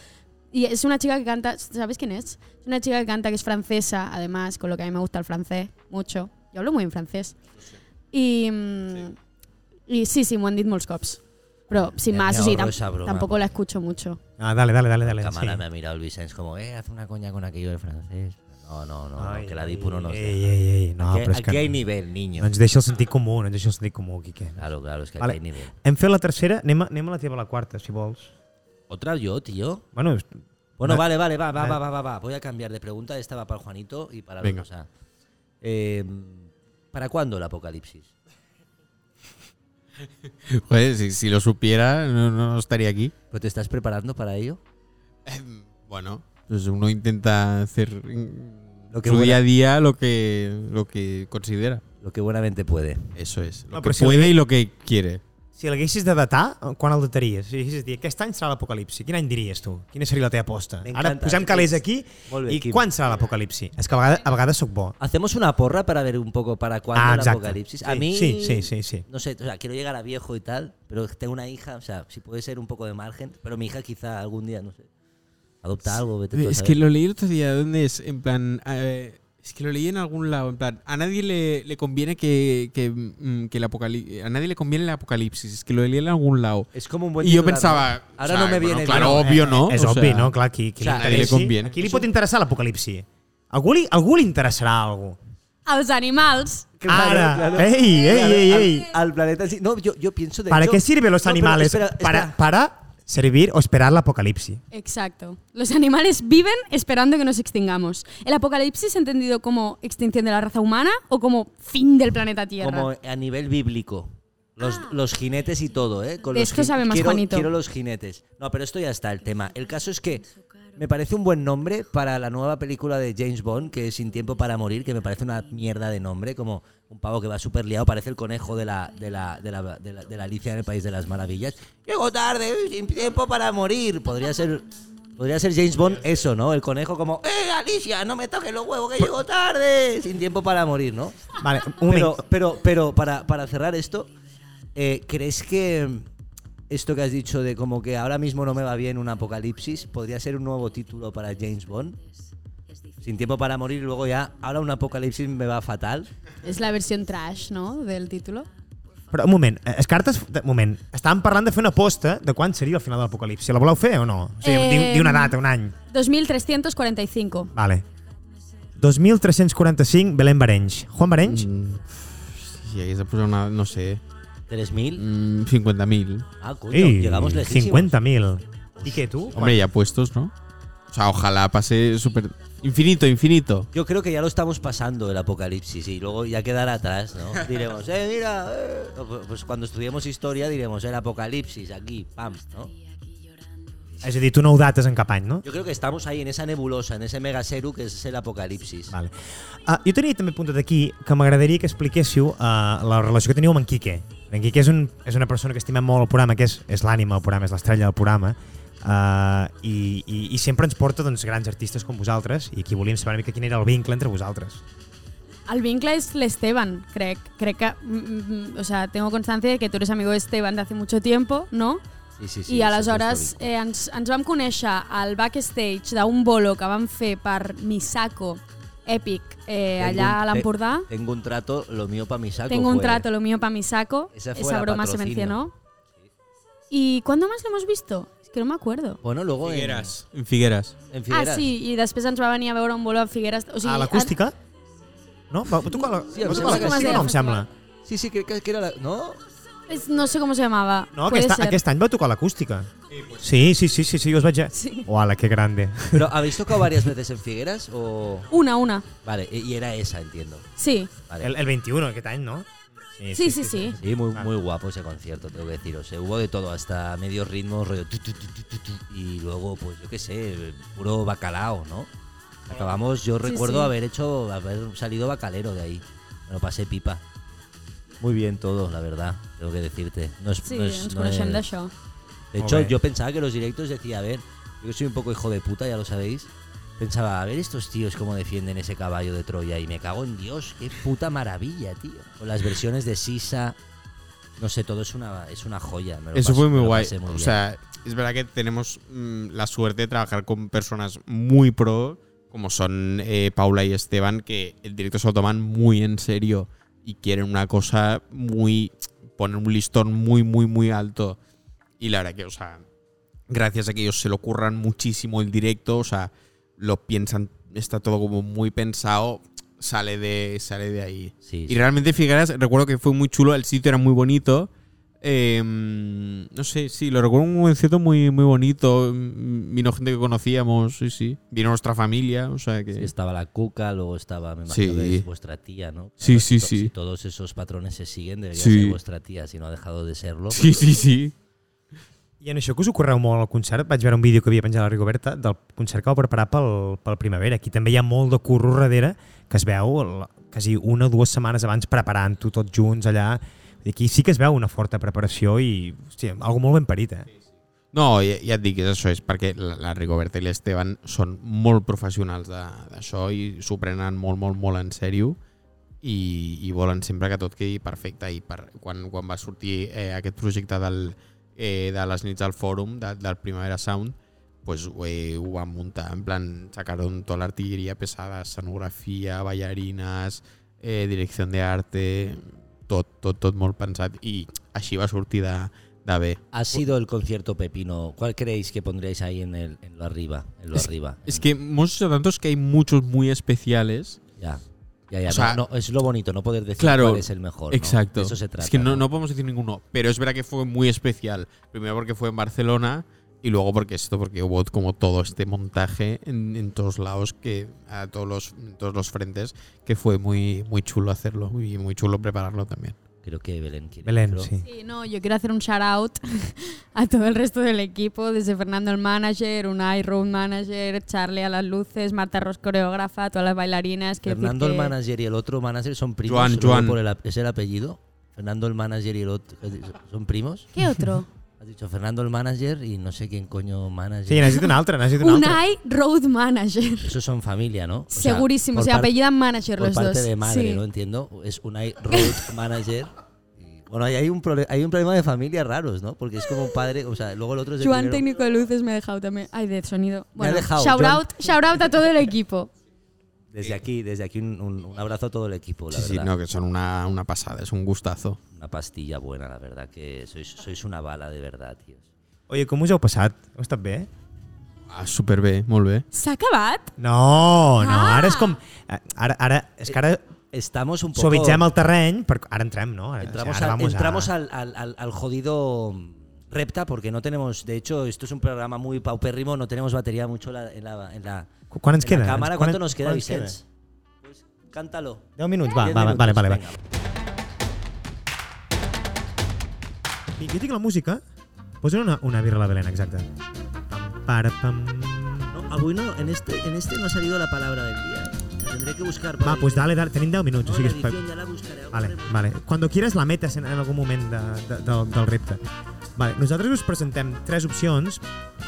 Speaker 2: I és una xica que canta, ¿sabes quién es? És una xica que canta que és francesa, además, con lo que a mí me gusta el francés, mucho. Yo hablo muy en francés. I mm, i sí, sí, m'ho han dit molts cops. Però, sin
Speaker 1: Me-
Speaker 2: más,
Speaker 1: me
Speaker 2: o sigui,
Speaker 1: ahorro
Speaker 2: tam
Speaker 1: esa broma.
Speaker 2: tampoco la escucho mucho.
Speaker 4: Ah, dale, dale, dale, dale.
Speaker 1: Cámara me
Speaker 4: sí.
Speaker 1: ha mirado el Vicens como, eh, haz una coña con aquello del francés. No, no, no, no,
Speaker 4: Ai,
Speaker 1: que la dipu no nos
Speaker 4: ei,
Speaker 1: deja.
Speaker 4: ei, ei, no,
Speaker 1: aquí
Speaker 4: però és
Speaker 1: eh, aquí
Speaker 4: Ah, que
Speaker 1: hay
Speaker 4: no.
Speaker 1: nivel, niño.
Speaker 4: No ens deixa el sentit comú, no ens deixa el sentit comú, Quique.
Speaker 1: Claro, claro, es que aquí
Speaker 4: Vale.
Speaker 1: hay nivel.
Speaker 4: Hem fet la tercera, anem a, anem a la teva la quarta, si vols.
Speaker 1: ¿Otra yo, tío?
Speaker 4: Bueno, és-
Speaker 1: Bueno,
Speaker 4: Ma-
Speaker 1: vale, vale, va, va, va, va, va, va. Voy a cambiar de pregunta. Esta va para el Juanito y para la
Speaker 3: Venga.
Speaker 1: cosa. Eh, ¿Para cuándo el apocalipsis?
Speaker 3: Joder, si, si lo supiera, no, no estaría aquí.
Speaker 1: ¿Pero te estás preparando para ello?
Speaker 3: Em, Bueno, pues uno intenta hacer mm,
Speaker 1: Lo que
Speaker 3: su
Speaker 1: pueda.
Speaker 3: día a día lo que, lo que considera.
Speaker 1: Lo que buenamente puede.
Speaker 3: Eso es. Lo
Speaker 4: No,
Speaker 3: que
Speaker 4: pero si
Speaker 3: puede y lo que quiere.
Speaker 4: Si l'haguessis de datar, quan el dataries? Si haguessis de dir, aquest any serà l'apocalipsi, quin any diries tu? Quina seria la teva aposta?
Speaker 1: M'encanta.
Speaker 4: Ara posem calés aquí
Speaker 1: Molt bé,
Speaker 4: i
Speaker 1: Quim.
Speaker 4: quan serà l'apocalipsi? És que a vegades, a vegades soc bo.
Speaker 1: Hacemos una porra para ver un poco para cuándo
Speaker 4: Ah,
Speaker 1: el
Speaker 4: exacto.
Speaker 1: apocalipsis.
Speaker 4: Sí,
Speaker 1: a mí.
Speaker 4: sí, sí, sí, sí.
Speaker 1: No sé, o sea, quiero llegar a viejo y tal, pero tengo una hija, o sea, si puede ser un poco de margen, pero mi hija quizá algún día, no sé. Adopta algo, vete tú a
Speaker 3: Eh, Es
Speaker 1: saber.
Speaker 3: que lo leí el otro día, ¿dónde es? En plan, eh, es que lo leí en algún lado, en plan, a nadie le, le conviene que, que, mm, que el apocalipsis, a nadie le conviene el apocalipsis, es que lo leí en algún lado.
Speaker 1: Es como un buen
Speaker 3: Y yo
Speaker 1: titular,
Speaker 3: pensaba,
Speaker 1: ¿no? Ahora
Speaker 3: o sea,
Speaker 1: no me
Speaker 3: bueno,
Speaker 1: viene
Speaker 3: claro,
Speaker 1: bien.
Speaker 3: obvio, ¿no?
Speaker 4: És
Speaker 3: O
Speaker 4: obvi,
Speaker 3: sea,
Speaker 4: no? Clar, qui, qui
Speaker 1: o sea,
Speaker 4: li
Speaker 1: a ell li
Speaker 4: interessi,
Speaker 3: conviene.
Speaker 4: a qui li pot interessar l'apocalipsi? A algú li, a algú li interessarà alguna cosa.
Speaker 2: Els animals,
Speaker 4: Ara! Ei, ei, ei, ei!
Speaker 1: Al, al planeta sí. No, yo, yo pienso de
Speaker 4: ¿Para
Speaker 1: yo-
Speaker 4: qué sirven los
Speaker 1: No, pero
Speaker 4: animales?
Speaker 1: espera, espera.
Speaker 4: Para, para servir o esperar l'apocalipsi.
Speaker 2: Exacto. Los animales viven esperando que nos extingamos. ¿El apocalipsis entendido como extinción de la raza humana o como fin del planeta Tierra?
Speaker 1: Como a nivel bíblico. Los, los jinetes y todo, ¿eh? Con
Speaker 2: De
Speaker 1: los
Speaker 2: esto
Speaker 1: jin-
Speaker 2: sabe más
Speaker 1: quiero,
Speaker 2: Juanito.
Speaker 1: Quiero los jinetes. No, pero esto ya está el tema. El caso es que me parece un buen nombre para la nueva película de James Bond, que es Sin Tiempo para Morir, que me parece una mierda de nombre, como un pavo que va súper liado, parece el conejo de la, de, la, de, la, de, la, de la Alicia en el País de las Maravillas. Llego tarde, uy, sin tiempo para morir. Podría ser... Podría ser James Bond eso, ¿no? El conejo como, ¡eh, Alicia, no me toques los huevos que llego tarde! Sin tiempo para morir, ¿no?
Speaker 4: Vale, un moment.
Speaker 1: Pero, pero, pero para, para cerrar esto, eh, ¿crees que esto que has dicho de como que ahora mismo no me va bien un apocalipsis podría ser un nuevo título para James Bond? Sin tiempo para morir, luego ya, ahora un apocalipsis me va fatal.
Speaker 2: Es la versión trash, ¿no? Del título.
Speaker 4: Però un moment, eh, es cartes, de- un moment, estàvem parlant de fer una aposta de quan seria el final de l'apocalipsi. La voleu fer o no? O sigui,
Speaker 2: Eh,
Speaker 4: eh... di, una data, un any.
Speaker 2: 2345.
Speaker 4: Vale. 2345, Belén Barenys. Juan Barenys? Mm.
Speaker 3: Si hagués de posar una, no sé,
Speaker 1: 3.000.
Speaker 3: mm, 50.000.
Speaker 1: Ah, coño, llegamos lejísimos.
Speaker 4: 50.000. I què, tu?
Speaker 3: Hombre, ya puestos, ¿no? O sea, ojalá pase súper. Infinito, infinito.
Speaker 1: Yo creo que ya lo estamos pasando el apocalipsis y luego ya quedará atrás, ¿no? Diremos, eh, mira, eh". O, pu- pues cuando estudiemos historia diremos el apocalipsis aquí, pam, ¿no?
Speaker 4: És a dir, tu no ho dates en cap any, no?
Speaker 1: Yo creo que estamos ahí en esa nebulosa, en ese megaseru que es el apocalipsis.
Speaker 4: Vale. Uh, jo tenia també apuntat aquí que m'agradaria que expliquéssiu uh, la relació que teniu amb en Quique. En Quique és, un, és una persona que estimem molt el programa, que és, és l'ànima del programa, és l'estrella del programa, uh, i, i, i sempre ens porta doncs, grans artistes com vosaltres, i aquí volíem saber una mica quin era el vincle entre vosaltres.
Speaker 2: Al vincle es Esteban, creo. Creo que, mm, mm, o sea, tengo constancia de que tú eres amigo de Esteban de hace mucho tiempo, ¿no?
Speaker 1: Sí, sí, sí,
Speaker 2: I
Speaker 1: sí,
Speaker 2: aleshores
Speaker 1: sí, sí.
Speaker 2: eh, ens, ens vam conèixer al backstage d'un bolo que vam fer per Misako, èpic, eh,
Speaker 1: Tengo
Speaker 2: allà
Speaker 1: un-
Speaker 2: a l'Empordà.
Speaker 1: te- Tengo un trato, lo mío para mi saco.
Speaker 2: Tengo un
Speaker 1: fue.
Speaker 2: trato, lo mío para Misako.
Speaker 1: Esa
Speaker 2: Esa,
Speaker 1: fue la
Speaker 2: broma se
Speaker 1: patrocina.
Speaker 2: mencionó. ¿Y cuándo más lo hemos visto? Es que no me acuerdo.
Speaker 1: Bueno, luego en,
Speaker 3: Figueras. En Figueras.
Speaker 1: en Figueras.
Speaker 2: Ah, sí, i després ens va venir a veure un bolo a Figueres. O sigui,
Speaker 4: a l'acústica? No? Va, va tocar la,
Speaker 1: Sí, em
Speaker 4: va
Speaker 1: sembla
Speaker 4: tocar
Speaker 1: que
Speaker 4: l'acústica,
Speaker 1: sí.
Speaker 4: no, em sembla.
Speaker 1: Sí, sí, creo que, que era la. ¿No?
Speaker 2: ara- és- no sé com se llamava.
Speaker 4: No,
Speaker 2: Puede
Speaker 4: aquest,
Speaker 2: ser.
Speaker 4: aquest any va tocar l'acústica. Sí, sí, sí, sí, sí, jo els vaig...
Speaker 2: Sí.
Speaker 4: Uala, que grande.
Speaker 1: ¿Pero habéis tocado varias veces en Figueras o.?
Speaker 2: Una, una.
Speaker 1: Vale, e-, y y era esa, entiendo.
Speaker 2: Sí.
Speaker 1: Vale.
Speaker 4: El, el 21 aquest any, no?
Speaker 2: Sí, sí, sí.
Speaker 1: Sí, muy, muy guapo ese concierto, tengo que deciros. eh. Hubo de todo, hasta medio ritmo, rollo tu, tu, tu, tu, tu, tu, y luego, pues yo qué sé, puro bacalao, ¿no? Acabamos, yo
Speaker 2: Sí,
Speaker 1: recuerdo
Speaker 2: sí.
Speaker 1: haber hecho, haber salido bacalero de ahí. Me lo pasé pipa. Muy bien todo, la verdad, tengo que decirte. No es,
Speaker 2: Sí,
Speaker 1: no es-
Speaker 2: ens
Speaker 1: no
Speaker 2: coneixem
Speaker 1: es-
Speaker 2: d'això.
Speaker 1: de hecho,
Speaker 4: Hombre.
Speaker 1: yo pensaba que los directos decía, a ver, yo que soy un poco hijo de puta, ya lo sabéis. Pensaba, a ver estos tíos cómo defienden ese caballo de Troya. Y me cago en Dios, qué puta maravilla, tío. Con las versiones de Sisa, no sé, todo es una, es una joya. me lo
Speaker 3: Eso
Speaker 1: pasé-
Speaker 3: fue
Speaker 1: me
Speaker 3: muy
Speaker 1: lo
Speaker 3: guay.
Speaker 1: pasé muy
Speaker 3: o
Speaker 1: bien.
Speaker 3: sea, es verdad que tenemos mm, la suerte de trabajar con personas muy pro, como son eh, Paula y Esteban, que el directo se lo toman muy en serio y quieren una cosa muy. poner un listón muy, muy, muy alto. Y la verdad que, o sea, gracias a que ellos se lo curran muchísimo el directo, o sea, lo piensan, está todo como muy pensado, sale de, sale de ahí.
Speaker 1: Sí,
Speaker 3: Y
Speaker 1: sí.
Speaker 3: realmente Figueras, recuerdo que fue muy chulo, el sitio era muy bonito. eh, no sé, sí, lo recuerdo un concierto muy, muy bonito. mm, Vino gente que conocíamos, sí, sí. Vino nuestra familia, o sea
Speaker 1: Sí,
Speaker 3: que.
Speaker 1: estaba la cuca, luego estaba, me
Speaker 3: Sí.
Speaker 1: imagino, que es vuestra tía, ¿no?
Speaker 3: Sí,
Speaker 1: Claro, si
Speaker 3: sí,
Speaker 1: to-
Speaker 3: sí.
Speaker 1: Si todos esos patrones se siguen, debería
Speaker 3: Sí.
Speaker 1: ser vuestra tía, si no ha dejado de serlo.
Speaker 3: Sí, sí, sí.
Speaker 4: I en això que us ocorreu molt al concert, vaig veure un vídeo que havia penjat la Rigoberta del concert que vau preparar pel, pel Primavera. Aquí també hi ha molt de curro darrere que es veu el- quasi una o dues setmanes abans preparant-ho tots junts allà. I aquí sí que es veu una forta preparació i, hòstia, algo molt ben parit, eh?
Speaker 3: No, ja, ja et dic, és això és perquè la, la Rigoberta i l'Esteban són molt professionals de- d'això i s'ho prenen molt, molt, molt en sèrio i, i volen sempre que tot quedi perfecte i per, quan, quan va sortir eh, aquest projecte del, eh, de les nits del fòrum de, del Primavera Sound pues, ho, eh, ho van muntar en plan sacaron tota l'artilleria pesada escenografia, ballarines eh, direcció d'arte tot, tot, tot molt pensat i així va sortir de, de bé
Speaker 1: Ha sido el concierto Pepino. ¿Cuál creéis que pondríais ahí en, el, en lo arriba? En lo arriba.
Speaker 3: Es
Speaker 1: en-
Speaker 3: que hemos hecho tantos que hay muchos muy especiales.
Speaker 1: Ya. Ya, ya.
Speaker 3: O
Speaker 1: no-
Speaker 3: sea,
Speaker 1: no, es lo bonito, no poder decir
Speaker 3: claro,
Speaker 1: cuál es el mejor. Oh, ¿no?
Speaker 3: Exacto.
Speaker 1: De eso se trata.
Speaker 3: Es que no, no podemos decir ninguno, pero es verdad que fue muy especial. Primero porque fue en Barcelona y luego porque esto, porque hubo como todo este montaje en, en todos lados, que a todos los, en todos los frentes, que fue muy, muy chulo hacerlo y muy chulo prepararlo también.
Speaker 1: Creo que Belén quiere.
Speaker 4: Belén,
Speaker 1: creo.
Speaker 4: sí.
Speaker 2: Sí, no, yo quiero hacer un shout out a todo el resto del equipo, desde Fernando el manager, Unai road manager, Charlie a las luces, Marta Ros coreógrafa, todas las bailarinas. quiero decir
Speaker 1: Fernando el
Speaker 2: que-
Speaker 1: manager y el otro manager son primos.
Speaker 3: Joan,
Speaker 1: solo
Speaker 3: Joan.
Speaker 1: Por el, ap- ¿Es el apellido? Fernando el manager y el otro. ¿has dicho? ¿Son primos?
Speaker 2: ¿Qué otro?
Speaker 1: Has dicho Fernando el manager y no sé quién coño manager.
Speaker 4: Sí, necessito una altra, necessito una altra.
Speaker 2: Unai road manager.
Speaker 1: Esos son familia, ¿no? O sea,
Speaker 2: Segurísimo,
Speaker 1: por
Speaker 2: se
Speaker 1: par-
Speaker 2: apellidan manager
Speaker 1: por
Speaker 2: los
Speaker 1: parte
Speaker 2: dos.
Speaker 1: de madre,
Speaker 2: sí.
Speaker 1: no entiendo. Es un i- road manager. Y, Bueno, ahí hay un, prole- hay un problema de familia raros, ¿no? Porque es como un padre, o sea, luego el otro es el
Speaker 2: Joan
Speaker 1: primero.
Speaker 2: técnico de luces me ha dejado también. Ay, de
Speaker 1: Me
Speaker 2: sonido.
Speaker 1: ha
Speaker 2: Bueno,
Speaker 1: dejado,
Speaker 2: shout
Speaker 1: Joan.
Speaker 2: out, shout out a todo el equipo.
Speaker 1: Desde aquí, desde aquí un, un- un abrazo a todo el equipo, la
Speaker 3: Sí, sí,
Speaker 1: verdad.
Speaker 3: no, que son una, una pasada, es un gustazo.
Speaker 1: Una pastilla buena, la verdad, que sois, sois una bala de verdad, tíos.
Speaker 4: Oye, com us heu passat? Heu estat bé?
Speaker 3: Ah, súper bé, molt bé.
Speaker 2: ¿Se ha acabado?
Speaker 4: No, no, ara és com... eh, Ara, ara, és que ara
Speaker 1: Estamos Eh, un poco...
Speaker 4: suavitzem el terreny, per, ara entrem, no? Ara,
Speaker 1: Entramos,
Speaker 4: ara
Speaker 1: al,
Speaker 4: vamos a-
Speaker 1: entramos al, al- al- al jodido mm, repta porque no tenemos, de hecho, esto es un programa muy paupérrimo, no tenemos batería mucho la- en la, en la,
Speaker 4: Qu- Quan ens
Speaker 1: en la
Speaker 4: queda?
Speaker 1: cámara.
Speaker 4: Quan-
Speaker 1: ¿Cuánto nos queda,
Speaker 4: quan ens
Speaker 1: Vicenç? Pues, cántalo.
Speaker 4: queda? 10 minuts, va,
Speaker 1: Diez
Speaker 4: va, va,
Speaker 1: minutos,
Speaker 4: vale, vale, vale.
Speaker 1: venga.
Speaker 4: I jo tinc la música, posen una, una birra a la Belén, exacte. Pam, para, pam.
Speaker 1: No, avui no, en este, en este no ha salido la palabra del día. La tendré que buscar.
Speaker 4: Va,
Speaker 1: para
Speaker 4: pues dale, dale, tenim 10 minuts,
Speaker 1: No,
Speaker 4: o sigui,
Speaker 1: la
Speaker 4: és pa-
Speaker 1: edición ya la buscaré. algo
Speaker 4: Vale,
Speaker 1: haremos.
Speaker 4: vale. Cuando quieras la metes en, en algun moment de, de, del, del repte. Vale, nosaltres us presentem tres opcions,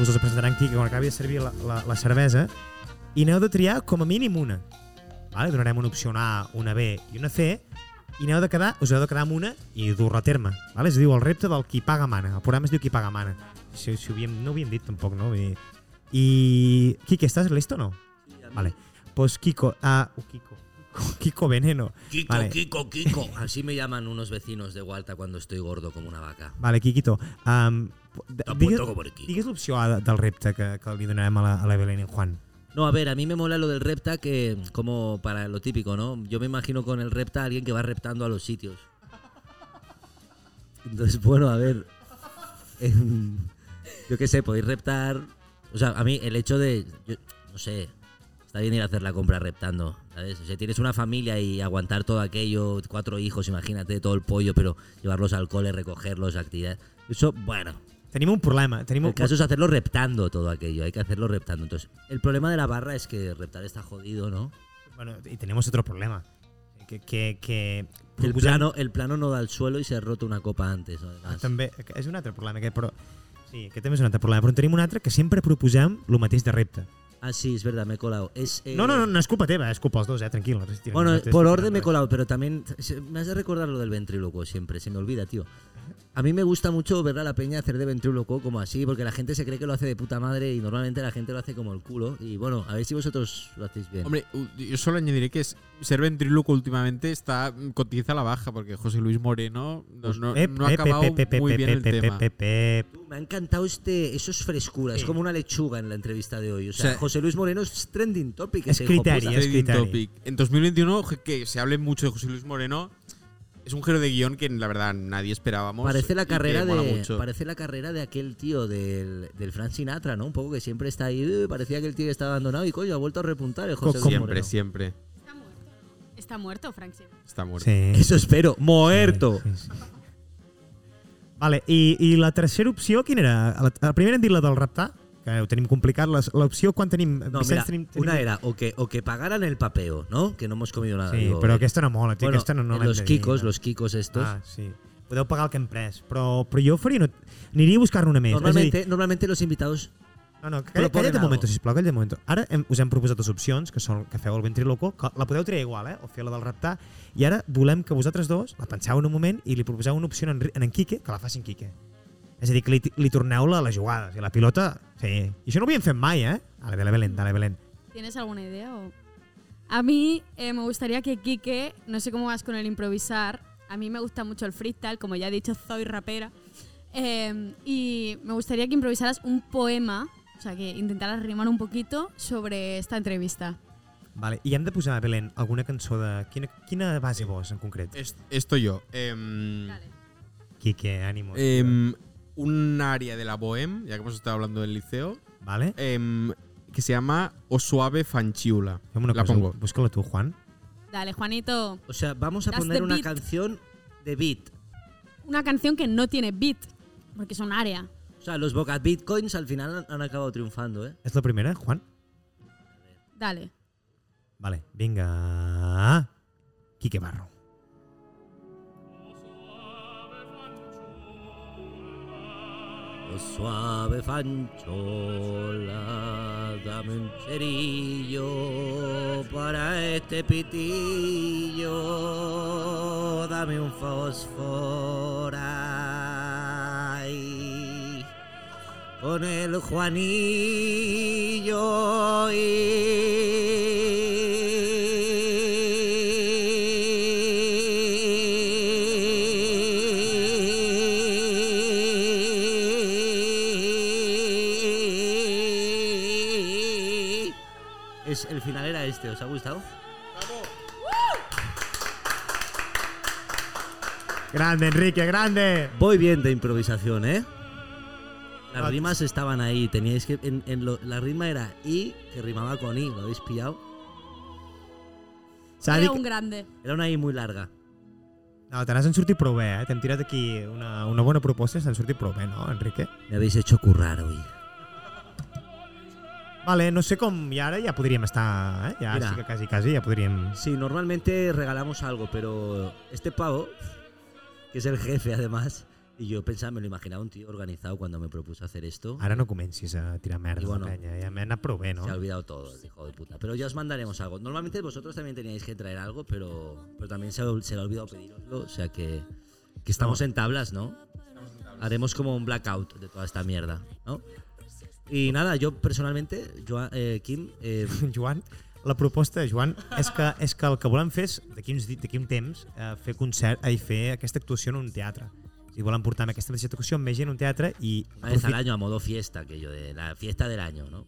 Speaker 4: us les presentaran aquí quan acabi de servir la, la, la cervesa, i n'heu de triar com a mínim una. Vale, donarem una opció una A, una B i una C, i n'heu de quedar, us heu de quedar amb una i dur-la a terme. Vale? Es diu el repte del qui paga mana. El programa es diu qui paga mana. Si, si ho havíem, no ho havíem dit tampoc, no? Vull dir- I... Quique, estàs listo o no? Vale. Pues Kiko... Ah, Kiko. Kiko Veneno.
Speaker 1: Kiko,
Speaker 4: Vale.
Speaker 1: Kiko, Kiko. Así me llaman unos vecinos de Gualta cuando estoy gordo como una vaca.
Speaker 4: Vale, Quiquito. Um, digues
Speaker 1: Tampoco por aquí.
Speaker 4: digues l'opció A de- del repte que, que li donarem a la, a la Belén i en Juan.
Speaker 1: No, a ver, a mí me mola lo del repta que como para lo típico, ¿no? Yo me imagino con el repta a alguien que va reptando a los sitios. Entonces, bueno, a ver. em, yo qué sé, podéis reptar. O sea, a mí el hecho de. yo- no sé. Está bien ir a hacer la compra reptando, ¿sabes? O sea, tienes una familia y aguantar todo aquello, cuatro hijos, imagínate, todo el pollo, pero llevarlos al cole, recogerlos, actividades. Eso, bueno,
Speaker 4: Tenim un problema. Tenim un...
Speaker 1: el caso es hacerlo reptando todo aquello, hay que hacerlo reptando. Entonces, el problema de la barra es que reptar está jodido, ¿no?
Speaker 4: Bueno, y tenemos otro problema. Que, que, que
Speaker 1: El
Speaker 4: proposem-
Speaker 1: plano, el plano no da al suelo y se ha roto una copa antes, ¿no? además.
Speaker 4: També, és un altre problema, aquest, però... Sí, aquest també és un altre problema, però en tenim un altre que sempre proposem el mateix de repte.
Speaker 1: Ah, sí, es verdad, me he colado. Es, eh,
Speaker 4: No, no, no, no és culpa teva, és culpa dels dos, eh, tranquil. nosaltres tirem-
Speaker 1: Bueno,
Speaker 4: nosaltres
Speaker 1: por
Speaker 4: tirem
Speaker 1: orden me he
Speaker 4: res.
Speaker 1: colado, pero también se- me has de recordar lo del ventrílocuo siempre, se me olvida, tío. A mí me gusta mucho ver a la peña hacer de ventrílocuo como así, porque la gente se cree que lo hace de puta madre y normalmente la gente lo hace como el culo. Y bueno, a ver si vosotros lo hacéis bien.
Speaker 3: Hombre, u- yo solo añadiré que es- ser ventríloco últimamente está mm, cotiza a la baja porque José Luis Moreno no,
Speaker 1: Pues
Speaker 3: no-
Speaker 4: Ep,
Speaker 3: no ha
Speaker 4: ep,
Speaker 3: acabado
Speaker 4: ep, ep, ep,
Speaker 3: muy
Speaker 4: ep,
Speaker 3: bien el
Speaker 4: ep, ep,
Speaker 3: tema.
Speaker 4: ep, ep.
Speaker 1: Me ha encantado este, eso es frescura, es
Speaker 4: Sí.
Speaker 1: como una lechuga en la entrevista de hoy. O
Speaker 3: sea,
Speaker 1: sea, José Luis Moreno es trending topic.
Speaker 4: Es
Speaker 1: ese hijo puta.
Speaker 4: criterio.
Speaker 3: Trading
Speaker 4: criterio.
Speaker 3: topic. En 2021 que se hable mucho de José Luis Moreno es un giro de guión que la verdad nadie esperábamos.
Speaker 1: Parece
Speaker 3: y
Speaker 1: la
Speaker 3: que
Speaker 1: carrera
Speaker 3: mola
Speaker 1: de
Speaker 3: mucho.
Speaker 1: parece la carrera de aquel tío del, del Frank Sinatra, ¿no? Un poco que siempre está ahí, "Eh, parecía que el tío estaba abandonado y coño, ha vuelto a repuntar el José
Speaker 4: Co-
Speaker 1: Luis
Speaker 4: como-
Speaker 3: Siempre,
Speaker 1: Moreno.
Speaker 3: siempre.
Speaker 2: Está muerto, ¿no? Está muerto, Frank Sinatra.
Speaker 3: Está muerto.
Speaker 4: Sí.
Speaker 1: Eso espero, muerto.
Speaker 4: Sí, sí, sí. Vale, i, i la tercera opció, quina era? La, la primera hem dit la del raptar, que ho tenim complicat. Les- L'opció quan tenim...
Speaker 1: No,
Speaker 4: Vicenç,
Speaker 1: mira,
Speaker 4: tenim, tenim-
Speaker 1: una era o que, o que pagaran el papeo, ¿no? Que no hemos comido nada.
Speaker 4: Sí,
Speaker 1: digo,
Speaker 4: però
Speaker 1: eh.
Speaker 4: aquesta no mola, tio,
Speaker 1: Bueno,
Speaker 4: aquesta no, no
Speaker 1: en
Speaker 4: l'hem
Speaker 1: los
Speaker 4: de
Speaker 1: kikos,
Speaker 4: dir,
Speaker 1: los kikos estos.
Speaker 4: Ah, sí. Podeu pagar el que hem pres, però, però jo faria... Una... Aniria a buscar-ne una més. És a dir,
Speaker 1: normalmente, normalmente los invitados
Speaker 4: No, no, calla,
Speaker 1: Proponen
Speaker 4: calla de
Speaker 1: algo.
Speaker 4: moment, sisplau, calla de moment. Ara hem, us hem proposat dues opcions, que són que feu el ventriloco, que la podeu triar igual, eh? o fer la del raptar, i ara volem que vosaltres dos la penseu en un moment i li proposeu una opció en, Enri- en, en Quique, que la facin Quique. És a dir, que li, li torneu la, la jugada, o sigui, la pilota... Sí, i això no ho havíem fet mai, eh? Dale, dale, Belén, dale, Belén.
Speaker 2: ¿Tienes alguna idea? o- A mí eh, me gustaría que Quique, no sé cómo vas con el improvisar, a mí me gusta mucho el freestyle, como ya he dicho, soy rapera, eh, y me gustaría que improvisaras un poema, o sea, que intentaras rimar un poquito sobre esta entrevista.
Speaker 4: Vale, i hem de posar, Belén, alguna cançó de... Quina, quina base vols, en concret?
Speaker 3: Es- esto yo. em,
Speaker 4: Quique, ànimo.
Speaker 3: em, un área de la Bohème, ya que hemos estado hablando del liceo,
Speaker 4: Vale?
Speaker 3: em, que se llama O Suave Fanciulla.
Speaker 4: Fem una
Speaker 3: La
Speaker 4: cosa,
Speaker 3: pongo.
Speaker 4: busca-la tu, Juan.
Speaker 2: Dale, Juanito,
Speaker 1: O sea, vamos a
Speaker 2: Das
Speaker 1: poner
Speaker 2: the
Speaker 1: una
Speaker 2: beat.
Speaker 1: canción de beat.
Speaker 2: una canción que no tiene beat, porque es un área.
Speaker 1: O sea, los Bocat Bitcoins al final han, han acabado triunfando, ¿eh?
Speaker 4: És la primera, Juan?
Speaker 2: Dale.
Speaker 4: Vale, vinga... Quique Barro.
Speaker 1: Oh, suave fanchola, dame un cerillo para este pitillo, dame un fósforo con el Juanillo y... Es, el final era este, ¿os ha gustado?
Speaker 4: Grande, Enrique, grande!
Speaker 1: Voy bien de improvisación, ¿eh? Las rimas estaban ahí, teníais que. En, en lo- la rima era I, que rimaba con I, ¿lo habéis pillado?
Speaker 4: S'ha de dir
Speaker 2: Era
Speaker 4: que-
Speaker 2: un grande.
Speaker 1: Era una I muy larga.
Speaker 4: No, te n'has en sortit prou bé, eh? T'hem tirat aquí una, una bona proposta i s'han sortit prou bé, no, Enrique?
Speaker 1: Me habéis hecho currar hoy.
Speaker 4: Vale, no sé com... I ara ja podríem estar... Eh? Ja
Speaker 1: Mira.
Speaker 4: sí que quasi, quasi ja podríem...
Speaker 1: Sí, normalmente regalamos algo, pero este pavo, que es el jefe además, y yo pensaba, me lo imaginaba un tío organizado cuando me propuso hacer esto.
Speaker 4: Ara no comencis a tirar merda,
Speaker 1: I bueno.
Speaker 4: bueno, penya. Ja m'he anat prou bé, no?
Speaker 1: Se ha olvidado todo, el hijo de puta. Pero ya os mandaremos algo. Normalmente vosotros también teníais que traer algo, pero, pero también se, se le ha olvidado pediroslo. O sea que, que estamos en tablas, ¿no? Haremos como un blackout de toda esta mierda, ¿no? Y nada, yo personalmente, yo, eh, Kim, eh,
Speaker 4: Joan, la proposta, Joan, és que, és que el que volem fer és, d'aquí uns, di- d'aquí un temps, eh, fer concert eh, i fer aquesta actuació en un teatre. I volem portar amb aquesta mateixa actuació amb més gent a un teatre i,
Speaker 1: una vez al
Speaker 4: aprofit-
Speaker 1: año a modo fiesta, que yo de la fiesta del año, ¿no?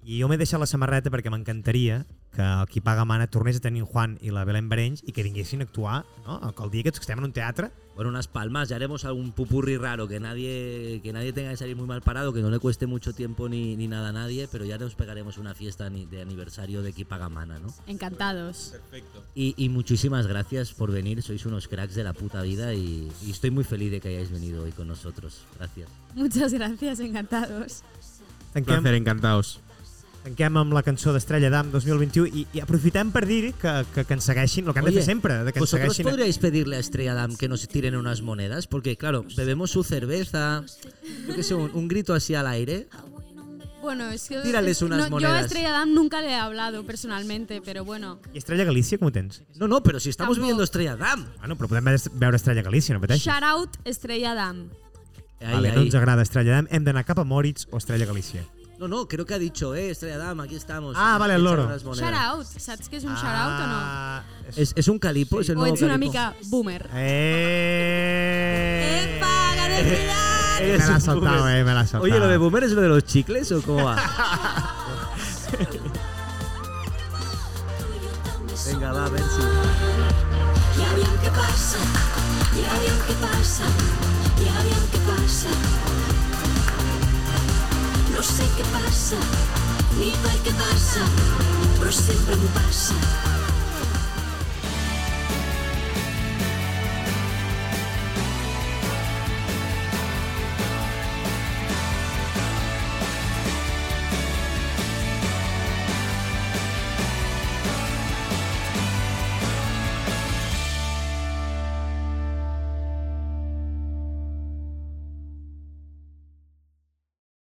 Speaker 4: i jo m'he deixat la samarreta perquè m'encantaria que el qui paga mana tornés a tenir en Juan i la Belén Barenys i que vinguessin a actuar no? el dia que estem en un teatre
Speaker 1: Bueno, unas palmas, ya haremos algún pupurri raro, que nadie, que nadie tenga que salir muy mal parado, que no le cueste mucho tiempo ni, ni nada a nadie, pero ya nos pegaremos una fiesta ni- de aniversario de Kipagamana, ¿no?
Speaker 2: Encantados.
Speaker 3: Perfecto.
Speaker 1: Y, y muchísimas gracias por venir, sois unos cracks de la puta vida y, y estoy muy feliz de que hayáis venido hoy con nosotros. Gracias.
Speaker 2: Muchas gracias, encantados.
Speaker 3: Un
Speaker 4: tanquem,
Speaker 3: placer, encantados.
Speaker 4: tanquem amb la cançó d'Estrella d'Am 2021 i, i aprofitem per dir que, que, que ens segueixin el que han de
Speaker 1: Oye,
Speaker 4: fer sempre de que ens
Speaker 1: ¿Vosotros
Speaker 4: segueixin
Speaker 1: podríais pedirle a Estrella Damm que nos tiren unas monedas? Porque, claro, bebemos su cerveza, yo qué sé, un, un grito así al aire.
Speaker 2: Bueno, es que.
Speaker 1: Tírales unas
Speaker 2: no, Yo a
Speaker 1: monedas.
Speaker 2: Estrella Damm nunca le he hablado personalmente, pero bueno.
Speaker 4: i Estrella Galícia com ho tens?
Speaker 1: No, no, pero si estamos
Speaker 2: Tampoco.
Speaker 1: viendo Estrella Damm.
Speaker 4: Bueno, però podem veure Estrella Galícia, no pateixis.
Speaker 2: Shout out Estrella Damm.
Speaker 1: Ahí,
Speaker 4: Vale, no
Speaker 1: ahí.
Speaker 4: ens agrada Estrella d'Am, hem d'anar cap a Moritz o Estrella Galícia.
Speaker 1: No, no, creo que ha dicho, eh, Estrella Dama, aquí estamos.
Speaker 4: Ah, vale, el loro.
Speaker 1: Echar unas monedas.
Speaker 2: Shout out. ¿Sabes qué es un shout out o no?
Speaker 4: Ah,
Speaker 1: Es, es un calipo, es el
Speaker 2: O
Speaker 1: nuevo
Speaker 2: es una
Speaker 1: calipo.
Speaker 2: mica boomer.
Speaker 4: Eh...
Speaker 2: ¡Epa! ¡Gana el final!
Speaker 4: Me
Speaker 1: Eres
Speaker 4: l'ha
Speaker 1: un
Speaker 4: saltat,
Speaker 1: boomer.
Speaker 4: eh, me l'ha saltat.
Speaker 1: Oye, ¿lo de boomer es lo de los chicles o cómo va? Venga, va, a ver si...
Speaker 6: I aviam què passa, i aviam què passa, i aviam què passa. No sé què passa, ni per què passa, però sempre em passa.